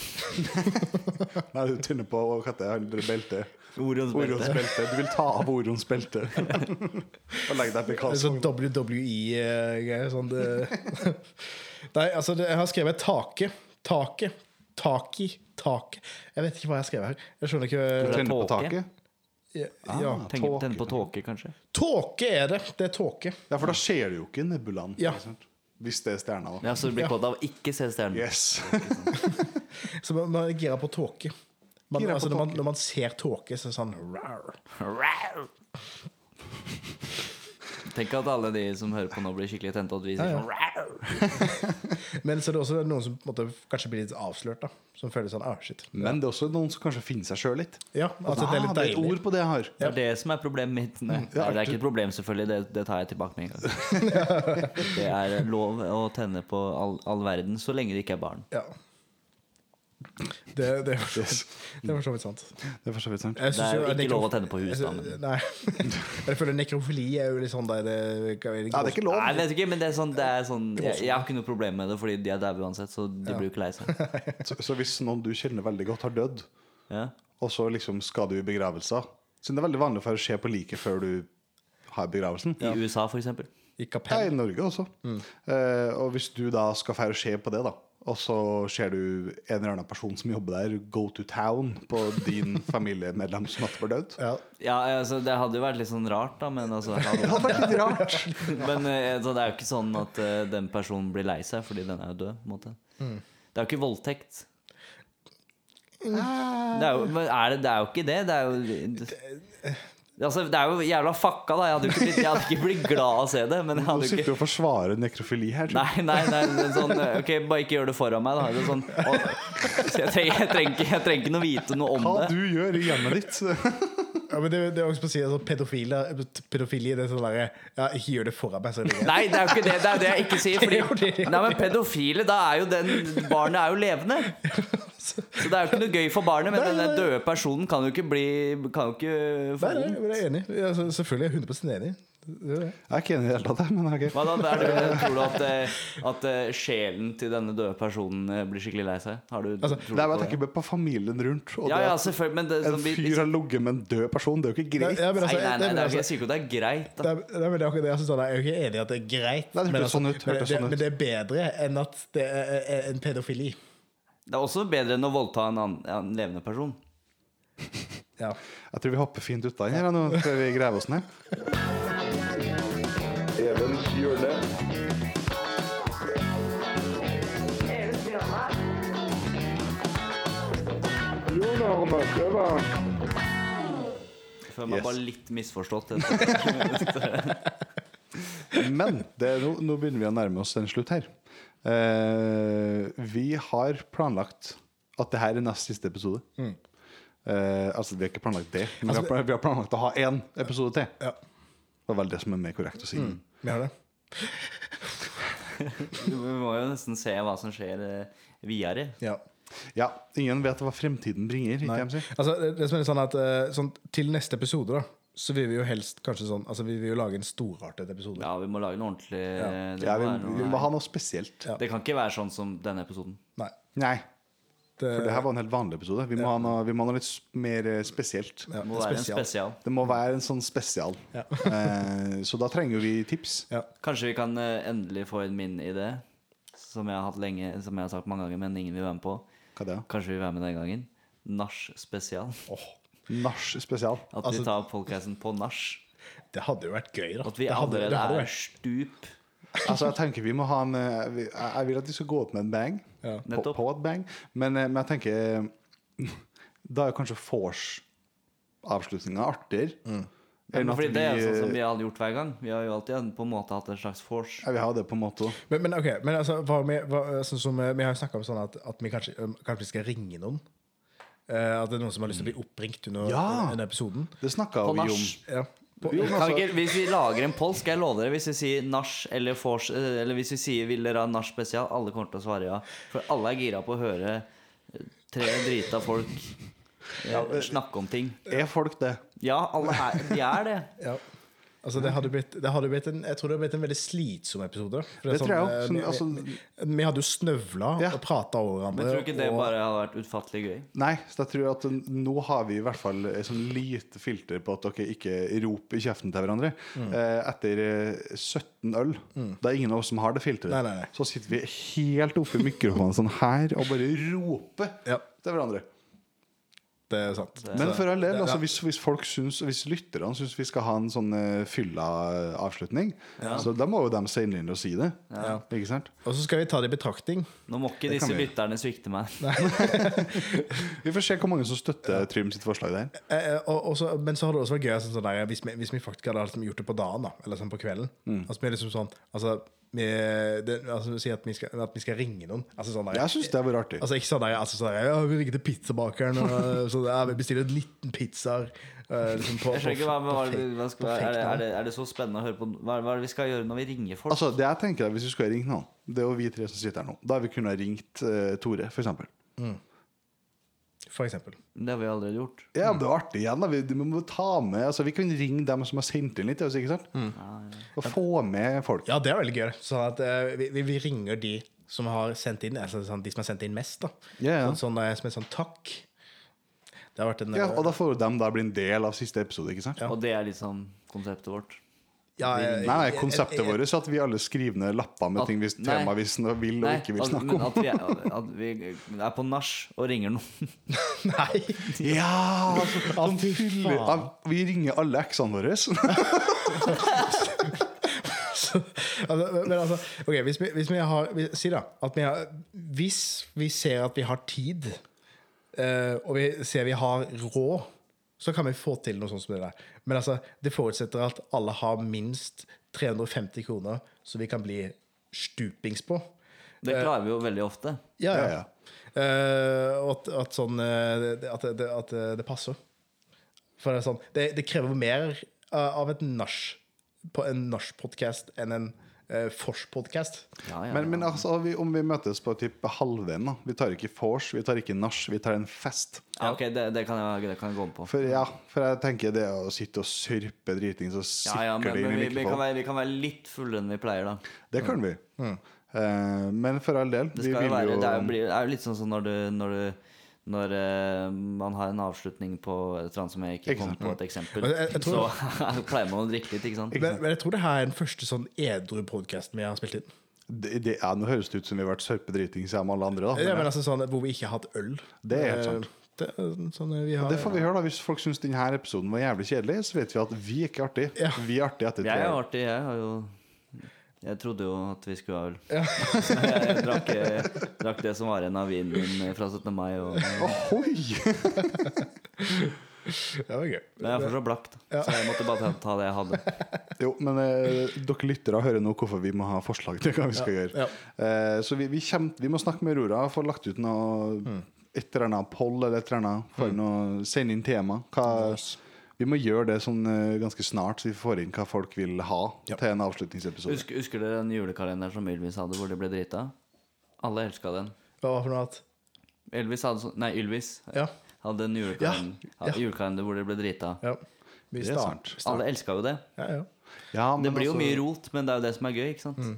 [SPEAKER 2] Nei, du tenner på hva heter det, andre beltet.
[SPEAKER 1] Orions
[SPEAKER 2] Orons
[SPEAKER 1] belte.
[SPEAKER 2] belte. Du vil ta av Orons belte. Og legge deg til
[SPEAKER 3] Det er
[SPEAKER 2] Karlsson.
[SPEAKER 3] sånn WWE-greier. Sånn det Nei, altså, det, jeg har skrevet take. Take. Taki. Tak. Jeg vet ikke hva jeg har skrevet her. Jeg skjønner
[SPEAKER 1] Tror
[SPEAKER 3] ikke
[SPEAKER 1] det er
[SPEAKER 2] Tenner på
[SPEAKER 1] tåke?
[SPEAKER 2] taket.
[SPEAKER 3] ja, ja.
[SPEAKER 1] Tenner
[SPEAKER 2] tåke.
[SPEAKER 1] tenner på tåke, kanskje.
[SPEAKER 3] Tåke er det. Det er tåke.
[SPEAKER 2] Ja, for da ser du jo ikke nebulaen.
[SPEAKER 3] Ja.
[SPEAKER 2] ikke sant? Hvis det er stjerna, da.
[SPEAKER 1] Ja, Så du blir
[SPEAKER 3] Ja.
[SPEAKER 1] kåt av å ikke se stjernen.
[SPEAKER 2] Yes.
[SPEAKER 3] Så man, man er gira på tåke. Man,
[SPEAKER 2] Gira på
[SPEAKER 3] altså, når, man,
[SPEAKER 2] tåke.
[SPEAKER 3] når man ser tåke, så er det sånn rar.
[SPEAKER 4] Rau.
[SPEAKER 1] Tenk at alle de som hører på nå, blir skikkelig tent. Og at vi sier sånn
[SPEAKER 4] Rau.
[SPEAKER 3] Men så er det også noen som på en måte, kanskje blir litt avslørt. da Som føler sånn ah, shit.
[SPEAKER 2] Men det er også noen som kanskje finner seg sjøl litt.
[SPEAKER 3] Ja, altså, det
[SPEAKER 2] Ah, det
[SPEAKER 3] er litt
[SPEAKER 2] er et
[SPEAKER 3] deilig.
[SPEAKER 2] ord på det jeg har.
[SPEAKER 1] Det er det som er problemet mitt. Nei, det er ikke et problem, selvfølgelig. Det, det tar jeg tilbake med en gang. Det er lov å tenne på all, all verden så lenge det ikke er barn.
[SPEAKER 3] Ja. Det, det, er for så vidt- det er for så vidt sant.
[SPEAKER 2] Det er for så vidt sant.
[SPEAKER 3] Jeg
[SPEAKER 1] Det
[SPEAKER 3] synes
[SPEAKER 1] er jo
[SPEAKER 3] at
[SPEAKER 1] ikke
[SPEAKER 3] nekrof-
[SPEAKER 1] lov å tenne på hus, da,
[SPEAKER 3] Jeg synes- Nei. Jeg føler nekrofili er jo litt sånn der det, hva er det,
[SPEAKER 2] Ja, det er ikke lov.
[SPEAKER 1] Nei, jeg vet ikke, men det er sånn, det er sånn jeg, jeg har ikke noe problem med det, fordi de er daue uansett, så de blir jo ikke lei seg.
[SPEAKER 2] Så, så hvis noen du kjenner veldig godt, har dødd,
[SPEAKER 1] Ja.
[SPEAKER 2] og så liksom skal du i begravelser Så det er veldig vanlig for å se på liket før du har begravelsen.
[SPEAKER 1] I USA, for eksempel.
[SPEAKER 3] I
[SPEAKER 2] Ja,
[SPEAKER 3] kapell.
[SPEAKER 2] i Norge også.
[SPEAKER 1] Mm.
[SPEAKER 2] Eh, og hvis du da skal feire skje på det, da, og så ser du en eller annen person som jobber der, go to town på din familiemedlem som nettopp er død.
[SPEAKER 3] Ja.
[SPEAKER 1] Ja, altså, det hadde jo vært litt sånn rart, da, men altså
[SPEAKER 2] Det hadde vært litt rart.
[SPEAKER 1] Men eh, så det er jo ikke sånn at eh, den personen blir lei seg, fordi den er jo død. på en måte.
[SPEAKER 2] Mm.
[SPEAKER 1] Det er jo ikke voldtekt.
[SPEAKER 2] Mm.
[SPEAKER 1] Det er jo, men er det, det er jo ikke det. Det er jo Altså, det er jo jævla fucka, da. Jeg hadde jo ikke blitt, jeg hadde ikke blitt glad av å se det. Men jeg
[SPEAKER 2] Nå
[SPEAKER 1] hadde jo
[SPEAKER 2] sitter
[SPEAKER 1] ikke
[SPEAKER 2] du og forsvarer nekrofili her. tror
[SPEAKER 1] Nei,
[SPEAKER 2] jeg.
[SPEAKER 1] nei, nei det er sånn, eh, OK, bare ikke gjør det foran meg, da. Det er sånn, å, så jeg trenger, jeg trenger, ikke- jeg trenger ikke noe vite noe om
[SPEAKER 2] Hva
[SPEAKER 1] det.
[SPEAKER 2] du gjør i hjemmet ditt.
[SPEAKER 3] ja, men det, det er også på siden, altså, pedofile, pedofili det er sånn derre ja, Ikke gjør det foran meg, så er det greit.
[SPEAKER 1] Nei, det er jo ikke det. Det er jo det jeg ikke sier.
[SPEAKER 3] Det er jo
[SPEAKER 1] Fordi,
[SPEAKER 3] det.
[SPEAKER 1] nei, men pedofile, da er jo den Barnet er jo levende. Så det er jo ikke noe gøy for barnet, men den der døde personen kan jo ikke bli Kan jo ikke få
[SPEAKER 3] Nei, nei,
[SPEAKER 1] vondt.
[SPEAKER 3] men jeg er enig. Ja, så- selvfølgelig er jeg 100 enig. Det er det.
[SPEAKER 2] Jeg er ikke enig i det hele tatt, men ok.
[SPEAKER 1] Hva da? Er det, tror du at, eh, at eh, sjelen til denne døde personen eh, blir skikkelig lei seg? Har du,
[SPEAKER 3] Altså,
[SPEAKER 1] tror
[SPEAKER 2] Det
[SPEAKER 1] du
[SPEAKER 2] er bare å
[SPEAKER 1] på det?
[SPEAKER 2] tenke på familien rundt. Og
[SPEAKER 1] Ja, ja,
[SPEAKER 2] det
[SPEAKER 1] selvfølgelig. Men det,
[SPEAKER 2] at en
[SPEAKER 1] sånn, vi, vi,
[SPEAKER 2] fyr har ligget med en død person, det er jo ikke
[SPEAKER 3] Nei,
[SPEAKER 2] greit.
[SPEAKER 3] ja, men
[SPEAKER 1] nei,
[SPEAKER 3] altså,
[SPEAKER 1] nei,
[SPEAKER 3] det-
[SPEAKER 1] nei,
[SPEAKER 3] men
[SPEAKER 1] det er,
[SPEAKER 3] altså-
[SPEAKER 1] jeg sier ikke at det er greit. Da.
[SPEAKER 3] det er- det er- men det er akkurat det jeg synes, da. Jeg er jo ikke enig i at det er greit,
[SPEAKER 2] Nei, det
[SPEAKER 3] men, altså,
[SPEAKER 2] hørtes sånn ut,
[SPEAKER 3] men,
[SPEAKER 2] hørtes
[SPEAKER 3] det,
[SPEAKER 2] sånn ut.
[SPEAKER 3] men det er bedre enn at det er, er en pedofili.
[SPEAKER 1] Det er også bedre enn å voldta en, annen, en levende person.
[SPEAKER 3] Ja.
[SPEAKER 2] Jeg tror vi hopper fint ut av den her nå, før vi graver oss ned.
[SPEAKER 1] Jeg føler meg
[SPEAKER 2] Yes.
[SPEAKER 1] bare litt misforstått. etter-
[SPEAKER 2] Men det, er nå, nå begynner vi å nærme oss en slutt her. Eh, vi har planlagt at det her er nest siste episode.
[SPEAKER 3] Mm.
[SPEAKER 2] Eh, altså, vi har ikke planlagt det, men
[SPEAKER 3] Altså,
[SPEAKER 2] vi, har, plan- vi har planlagt å ha én episode til.
[SPEAKER 3] Ja.
[SPEAKER 2] Det var vel det som er mer korrekt å si.
[SPEAKER 3] Vi har det.
[SPEAKER 1] Vi må jo nesten se hva som skjer eh, videre.
[SPEAKER 3] Ja.
[SPEAKER 2] Ja, ingen vet hva fremtiden bringer. Ikke
[SPEAKER 3] Nei.
[SPEAKER 2] jeg si.
[SPEAKER 3] Altså, det- det som er litt sånn at eh, sånn, Til neste episode da så vil vi jo helst kanskje sånn Altså vi vil jo lage en storartet episode.
[SPEAKER 1] Ja, vi må lage noe ordentlig. Det,
[SPEAKER 2] Ja,
[SPEAKER 1] må
[SPEAKER 2] vi,
[SPEAKER 1] være noe-
[SPEAKER 2] vi må ha noe spesielt.
[SPEAKER 3] Ja.
[SPEAKER 1] det kan ikke være sånn som denne episoden.
[SPEAKER 3] Nei.
[SPEAKER 2] Nei,
[SPEAKER 3] Det,
[SPEAKER 2] for det her var en helt vanlig episode. Vi må ha noe, vi må ha noe litt s- mer eh, spesielt.
[SPEAKER 3] ja,
[SPEAKER 1] Det må være
[SPEAKER 3] spesial.
[SPEAKER 1] en spesial.
[SPEAKER 2] Det må være en sånn spesial.
[SPEAKER 3] Ja.
[SPEAKER 2] Eh, så da trenger jo vi tips.
[SPEAKER 3] Ja.
[SPEAKER 1] Kanskje vi kan eh, endelig få inn min idé, som jeg har hatt lenge, som jeg har sagt mange ganger, men ingen vil være med på.
[SPEAKER 2] Hva er det?
[SPEAKER 1] Kanskje vi vil være med den gangen. Nach spesial.
[SPEAKER 2] Nach spesial.
[SPEAKER 1] At
[SPEAKER 3] Altså-
[SPEAKER 1] vi tar podcasten på nach.
[SPEAKER 3] Det hadde jo vært gøy, da.
[SPEAKER 1] At vi
[SPEAKER 3] det hadde,
[SPEAKER 1] allerede
[SPEAKER 3] det hadde
[SPEAKER 1] er
[SPEAKER 3] vært
[SPEAKER 1] stup.
[SPEAKER 2] Altså, jeg tenker vi må ha en eh, vi- Jeg jeg vil at vi skal gå opp med en bang.
[SPEAKER 3] Ja.
[SPEAKER 2] På,
[SPEAKER 1] Nettopp.
[SPEAKER 2] på et bang. Men, eh, men jeg tenker eh, Da er kanskje vors-avslutninga artigere.
[SPEAKER 3] Mm.
[SPEAKER 1] Ja,
[SPEAKER 2] enn
[SPEAKER 1] men
[SPEAKER 2] at
[SPEAKER 1] Fordi det er jo sånn som
[SPEAKER 2] vi
[SPEAKER 1] vi hadde gjort hver gang. Vi har jo alltid på en måte hatt en slags vors.
[SPEAKER 2] Ja, vi har det på en måte også.
[SPEAKER 3] Men, men ok, men altså, hva med, hva, sånn som, eh, vi har jo snakka om sånn at, at vi kanskje, eh, kanskje vi skal ringe noen. Eh, at det er noen som har lyst til å bli oppringt under
[SPEAKER 2] Ja.
[SPEAKER 3] denne episoden.
[SPEAKER 2] Det snakka
[SPEAKER 1] På
[SPEAKER 2] vi
[SPEAKER 1] nach.
[SPEAKER 2] om.
[SPEAKER 3] Ja. På,
[SPEAKER 2] Jo, men
[SPEAKER 1] Kan
[SPEAKER 2] altså-
[SPEAKER 1] vi ikke, hvis vi lager en poll, skal jeg love dere, hvis vi sier nach eller vors, eh, eller hvis vi sier vil dere ha nach spesial, alle kommer til å svare ja. For alle er gira på å høre eh, tre drita folk eh, snakke om ting.
[SPEAKER 2] Er folk det?
[SPEAKER 1] Ja, alle er, de er det.
[SPEAKER 3] ja. Altså, det hadde blitt, det hadde blitt en, jeg tror det hadde blitt en veldig slitsom episode. For
[SPEAKER 2] Det tror jeg også.
[SPEAKER 3] eh,
[SPEAKER 2] Sånn,
[SPEAKER 3] vi- vi, vi hadde jo snøvla
[SPEAKER 2] Ja.
[SPEAKER 3] og prata over hverandre.
[SPEAKER 1] Men tror du ikke det
[SPEAKER 3] og-
[SPEAKER 1] bare hadde vært utfattelig gøy?
[SPEAKER 2] Nei, så jeg tror at nå har vi i hvert fall et sånn lite filter på at dere ikke roper i kjeften til hverandre.
[SPEAKER 3] Mm.
[SPEAKER 2] Eh, etter eh, 17 øl, det er ingen av oss som har det filteret,
[SPEAKER 3] Nei, nei, nei.
[SPEAKER 2] så sitter vi helt oppe i mikrofonen sånn her og bare roper
[SPEAKER 3] Ja.
[SPEAKER 2] til hverandre.
[SPEAKER 3] Det er sant.
[SPEAKER 2] Men for all del,
[SPEAKER 3] Ja.
[SPEAKER 2] altså, hvis, hvis folk syns, hvis lytterne syns vi skal ha en sånn eh, fylla eh, avslutning, så da må jo de sende inn og si det. Ikke sant?
[SPEAKER 3] Og så skal vi ta det i betraktning.
[SPEAKER 1] Nå må ikke
[SPEAKER 2] Det kan
[SPEAKER 1] disse
[SPEAKER 2] vi gjøre.
[SPEAKER 1] lytterne svikte meg.
[SPEAKER 2] Vi får se hvor mange som støtter Trym sitt forslag der.
[SPEAKER 3] Eh, eh, og, og så, men så hadde det også vært gøy sånn, sånn der, hvis, vi, hvis vi faktisk hadde liksom, gjort det på dagen, da, eller sånn på kvelden.
[SPEAKER 2] Mm.
[SPEAKER 3] Altså, vi er liksom sånn Altså, vi, det, altså, vi sier at vi, skal, at vi skal ringe noen. Altså, sånn der,
[SPEAKER 2] Jeg syns det hadde vært artig.
[SPEAKER 3] altså ikke sånn der, altså, sånn der ja, Vi ringer til pizzabakeren, og så, ja, vi bestiller 19 pizzaer. eh, liksom, på-
[SPEAKER 1] Jeg skjønner ikke hva,
[SPEAKER 3] på-
[SPEAKER 1] hva,
[SPEAKER 3] på fake-
[SPEAKER 1] hva skal,
[SPEAKER 3] på fake
[SPEAKER 1] er, det,
[SPEAKER 3] navn.
[SPEAKER 1] er, det, er det så spennende å høre på? Hva, hva er det vi skal gjøre når vi ringer folk?
[SPEAKER 2] Altså, det jeg tenker er, Hvis vi skulle ha ringt noen, det er jo vi tre som sitter her nå. Da har vi kunnet ha ringt eh, Tore, f.eks.
[SPEAKER 3] For eksempel.
[SPEAKER 1] Det har vi allerede gjort.
[SPEAKER 2] Ja, det er artig igjen. da Vi, vi må ta med altså, Vi kan ringe dem som har sendt inn litt. altså, Ikke sant? Og få med folk.
[SPEAKER 3] Ja, det er veldig gøy. det. Sånn at eh, vi, vi- vi ringer de som har sendt inn altså, sånn, De som har sendt inn mest, da.
[SPEAKER 2] Ja, ja.
[SPEAKER 3] Sånn, sånn, der, som en sånn takk. Det har vært en
[SPEAKER 2] Ja,
[SPEAKER 3] eh,
[SPEAKER 2] og da får jo dem da bli en del av siste episode. ikke sant?
[SPEAKER 1] Og det er liksom konseptet vårt.
[SPEAKER 3] ja, eh,
[SPEAKER 2] Nei, nei,
[SPEAKER 3] eh,
[SPEAKER 2] Konseptet
[SPEAKER 3] eh, eh,
[SPEAKER 2] vårt er at vi alle skriver ned lapper med
[SPEAKER 1] At-
[SPEAKER 2] ting vi,
[SPEAKER 1] nei.
[SPEAKER 2] tema vi sn- vil og ikke vil
[SPEAKER 1] at,
[SPEAKER 2] snakke
[SPEAKER 1] men
[SPEAKER 2] om.
[SPEAKER 1] at vi, er, at vi er på nach og ringer noen.
[SPEAKER 3] Nei!
[SPEAKER 2] Ja! altså,
[SPEAKER 3] Å, fy
[SPEAKER 2] Fyller-
[SPEAKER 3] faen.
[SPEAKER 2] ja, Vi ringer alle eksene våre.
[SPEAKER 3] Altså, men altså, ok, hvis vi, hvis vi har vi, Si da at vi har, Hvis vi ser at vi har tid, eh, og vi ser vi har råd, så kan vi få til noe sånt som det der. Men altså, det forutsetter at alle har minst 350 kroner, så vi kan bli stupings på.
[SPEAKER 1] Det
[SPEAKER 2] Eh,
[SPEAKER 1] klarer vi jo veldig ofte.
[SPEAKER 3] Ja, ja.
[SPEAKER 2] Ja, ja.
[SPEAKER 3] Eh, og at, at sånn eh, det- at, det, at det passer. For det er sånn Det, det krever mer eh, av et nach på en nach-podkast enn en uh, vors-podkast.
[SPEAKER 1] Ja, ja,
[SPEAKER 2] Men, men
[SPEAKER 1] ja.
[SPEAKER 2] altså, vi, om vi møtes på typ halvveien, da Vi tar ikke vors, vi tar ikke nach, vi tar en fest.
[SPEAKER 1] Ja, ok, det, det, kan jeg, det kan jeg gå med på.
[SPEAKER 2] For ja, for jeg tenker det å sitte og sørpe driting, så
[SPEAKER 1] Ja,
[SPEAKER 2] sikker
[SPEAKER 1] ja, men,
[SPEAKER 2] det
[SPEAKER 1] men
[SPEAKER 2] inn
[SPEAKER 1] vi,
[SPEAKER 2] i
[SPEAKER 1] vi, kan
[SPEAKER 2] mikrofonen.
[SPEAKER 1] være, vi kan være litt fullere enn vi pleier, da.
[SPEAKER 2] Det kan vi. Mm. Eh, men for all del,
[SPEAKER 1] Det
[SPEAKER 2] vi
[SPEAKER 1] skal jo
[SPEAKER 2] vil
[SPEAKER 1] være
[SPEAKER 2] jo
[SPEAKER 1] Det er jo, blir- det er jo litt sånn som når du Når, du, når eh, man har en avslutning på et eller annet som jeg ikke
[SPEAKER 2] Ikke
[SPEAKER 1] kom
[SPEAKER 2] sant.
[SPEAKER 1] på et eksempel,
[SPEAKER 3] Men jeg- jeg
[SPEAKER 1] så
[SPEAKER 3] tror-
[SPEAKER 1] pleier man å drikke litt, ikke sant?
[SPEAKER 3] Men, men jeg tror det her er den første sånn edru podkasten vi har spilt inn.
[SPEAKER 2] det, det, ja, Nå høres det ut som vi har vært sørpedriting sammen med alle andre, da.
[SPEAKER 3] Ja, men
[SPEAKER 2] Men,
[SPEAKER 3] altså sånn Hvor vi ikke har hatt øl.
[SPEAKER 2] Det er helt sant.
[SPEAKER 3] Eh, det, er sånn vi har,
[SPEAKER 2] Det får vi høre da Hvis folk syns denne episoden var jævlig kjedelig, så vet vi at vi ikke er artig.
[SPEAKER 3] Ja.
[SPEAKER 2] Vi er artig etter
[SPEAKER 1] Jeg
[SPEAKER 2] tre
[SPEAKER 1] er
[SPEAKER 2] år.
[SPEAKER 1] artig, jeg har jo Jeg trodde jo at vi skulle ha øl. Men Jeg drakk, jeg drakk det som var igjen av vinen min fra 17. mai. Og,
[SPEAKER 2] Ohoi!
[SPEAKER 3] Det var gøy.
[SPEAKER 1] men jeg er fortsatt blakk, da. så jeg måtte bare ta det jeg hadde.
[SPEAKER 2] Jo, men eh, dere lyttere hører nå hvorfor vi må ha forslag til hva vi skal gjøre. Eh, så vi, vi, kjem, vi må snakke med Aurora og få lagt ut noe et eller annet poll eller et eller annet. For noe, sende inn tema. Hva, vi må gjøre det sånn eh, ganske snart, så vi får inn hva folk vil ha til en avslutningsepisode.
[SPEAKER 1] Husker, husker dere den julekalenderen som Ylvis hadde, hvor de ble drita? Alle elska den.
[SPEAKER 3] Hva var det for noe at
[SPEAKER 1] Elvis hadde sånn Nei, Ylvis
[SPEAKER 3] Ja.
[SPEAKER 1] hadde en julekalender,
[SPEAKER 3] Ja, ja.
[SPEAKER 1] hadde julekalender hvor de ble drita.
[SPEAKER 3] ja. Vi
[SPEAKER 2] Det er sant.
[SPEAKER 3] start- start-
[SPEAKER 1] Alle elska jo det.
[SPEAKER 3] Ja, ja.
[SPEAKER 2] Ja,
[SPEAKER 1] Det
[SPEAKER 2] men
[SPEAKER 1] blir jo
[SPEAKER 2] altså-
[SPEAKER 1] mye rot, men det er jo det som er gøy, ikke sant?
[SPEAKER 3] Mm.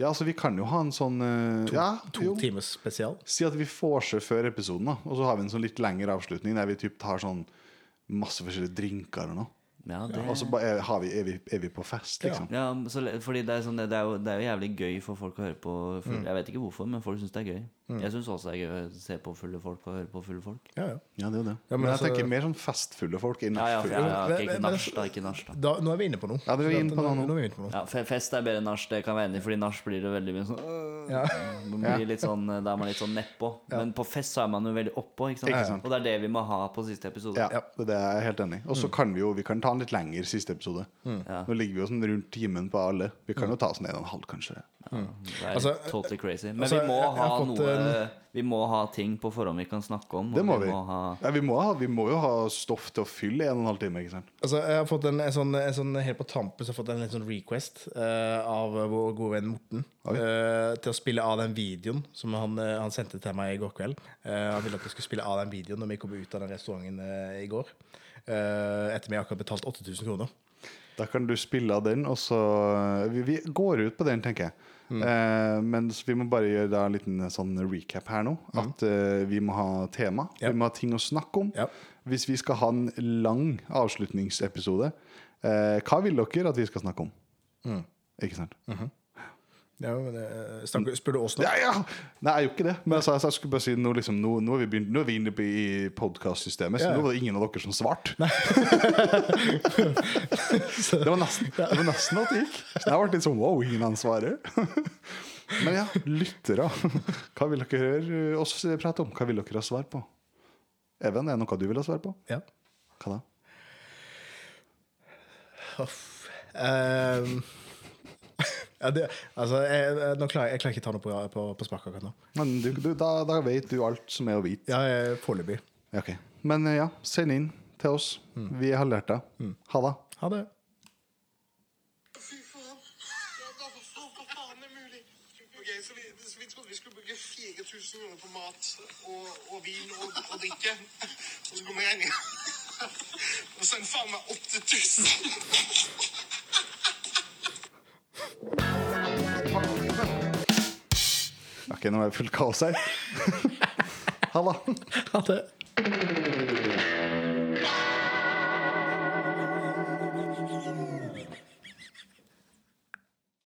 [SPEAKER 2] Ja, altså vi kan jo ha en sånn eh, ja,
[SPEAKER 3] To
[SPEAKER 2] jo.
[SPEAKER 3] timers spesial.
[SPEAKER 2] Si at vi vorser før episoden, da. Og så har vi en sånn litt lengre avslutning der vi typ tar sånn masse forskjellige drinker eller noe.
[SPEAKER 1] Ja, det
[SPEAKER 3] altså-
[SPEAKER 2] Og så ba- er, har vi, er, vi, er vi på fest, liksom.
[SPEAKER 1] Ja, så, le- fordi det er, sånn, det, er jo, det er jo jævlig gøy for folk å høre på
[SPEAKER 3] Mm.
[SPEAKER 1] full, Jeg vet ikke hvorfor, men folk syns det er gøy. Jeg syns også det er gøy å se på fulle folk og høre på fulle folk.
[SPEAKER 3] Ja, ja.
[SPEAKER 2] Ja, det er jo det.
[SPEAKER 3] Ja, men
[SPEAKER 2] men, jeg
[SPEAKER 3] altså-
[SPEAKER 2] tenker mer sånn festfulle folk enn
[SPEAKER 1] Ja, ja,
[SPEAKER 2] nattfulle.
[SPEAKER 1] ja, ja ok,
[SPEAKER 3] Men-
[SPEAKER 1] ikke
[SPEAKER 3] men-
[SPEAKER 1] nach, da. Ikke nach, da.
[SPEAKER 3] Da, nå er vi inne på noe.
[SPEAKER 2] Ja, det er vi inne på noe nå.
[SPEAKER 3] nå er vi inne på noe.
[SPEAKER 1] Ja, fe- fest er bedre enn nach, det kan jeg være enig i, fordi nach blir det veldig mye sånn øh,
[SPEAKER 3] Ja.
[SPEAKER 1] man blir litt sånn eh, Da er man litt sånn nedpå. Men på fest så er man jo veldig oppå, ikke sant?
[SPEAKER 2] Ikke sant.
[SPEAKER 1] Og det er det vi må ha på siste episode.
[SPEAKER 2] Ja, det er jeg helt enig i.
[SPEAKER 3] Mm.
[SPEAKER 2] Og så kan vi jo vi kan ta en litt lengre siste episode.
[SPEAKER 1] Ja.
[SPEAKER 2] Nå ligger vi jo sånn rundt timen på alle. Vi
[SPEAKER 3] Mm.
[SPEAKER 2] kan jo ta sånn en og en halv, kanskje.
[SPEAKER 1] Det er
[SPEAKER 3] Altså,
[SPEAKER 1] totally crazy. Men
[SPEAKER 3] altså,
[SPEAKER 1] vi må
[SPEAKER 3] jeg- jeg
[SPEAKER 1] ha
[SPEAKER 3] har fått øh,
[SPEAKER 1] noe
[SPEAKER 3] en-
[SPEAKER 1] Vi må ha ting på forhånd vi kan snakke om. og
[SPEAKER 2] Det må vi.
[SPEAKER 1] Må ha,
[SPEAKER 2] Ja, vi, må ha, vi må jo ha stoff til å fylle en og en halv time. ikke sant?
[SPEAKER 3] Altså, jeg har fått en, en, sånn, en sånn helt på tampen så har jeg fått en litt sånn request eh, av vår gode venn Morten eh, til å spille av den videoen som han, eh, han sendte til meg i går kveld. Eh, han ville at jeg skulle spille av den videoen når vi kom ut av den restauranten eh, i går. Eh, etter at vi akkurat betalt 8000 kroner.
[SPEAKER 2] Da kan du spille av den, og så eh, Vi, vi går ut på den, tenker jeg.
[SPEAKER 3] Mm.
[SPEAKER 2] Eh, men så vi må bare gjøre da en liten sånn recap her nå. At eh, vi må ha tema.
[SPEAKER 3] Mm. Ja.
[SPEAKER 2] Vi må ha ting å snakke om.
[SPEAKER 3] Ja.
[SPEAKER 2] Hvis vi skal ha en lang avslutningsepisode, eh, hva vil dere at vi skal snakke om?
[SPEAKER 3] Mm.
[SPEAKER 2] Ikke sant?
[SPEAKER 3] Mm-hmm. Ja, men, eh, snakk- spør du oss nå?
[SPEAKER 2] Ja, ja! Nei, jeg gjorde ikke det. Men altså, altså, jeg skulle bare si nå, liksom, nå, nå, er, vi begynt, nå er vi inne på, i podkastsystemet, så
[SPEAKER 3] Ja, ja.
[SPEAKER 2] nå var det ingen av dere som svarte. det var nesten Det var nesten at det gikk. Så jeg ble litt sånn wow, ingen av dem svarer. Men ja, lyttere. Hva vil dere høre oss prate om? Hva vil dere ha svar på? Even, er det noe du vil ha svar på?
[SPEAKER 3] Ja.
[SPEAKER 2] Hva da?
[SPEAKER 3] Huff. Ehm, ja, det, altså, jeg, jeg, nå klarer, jeg- jeg klarer ikke å ta noe på, på, på sparket akkurat nå.
[SPEAKER 2] Men du, du, da, da vet du alt som er å vite.
[SPEAKER 3] Ja, jeg- Foreløpig.
[SPEAKER 2] Ja, ok. Men eh, ja, send inn til oss. Vi har lært det. Ha det.
[SPEAKER 3] Ha det.
[SPEAKER 5] Fy faen. Ja, da, hva faen, hva faen er mulig? Ok, så vi, så vi trodde vi skulle bruke 4000 kroner på mat og, og vin og, og drikke. Og så kommer regninga. Og så en faen meg 8000.
[SPEAKER 2] Ok, nå er det fullt kaos her. ha det.
[SPEAKER 3] Ha det.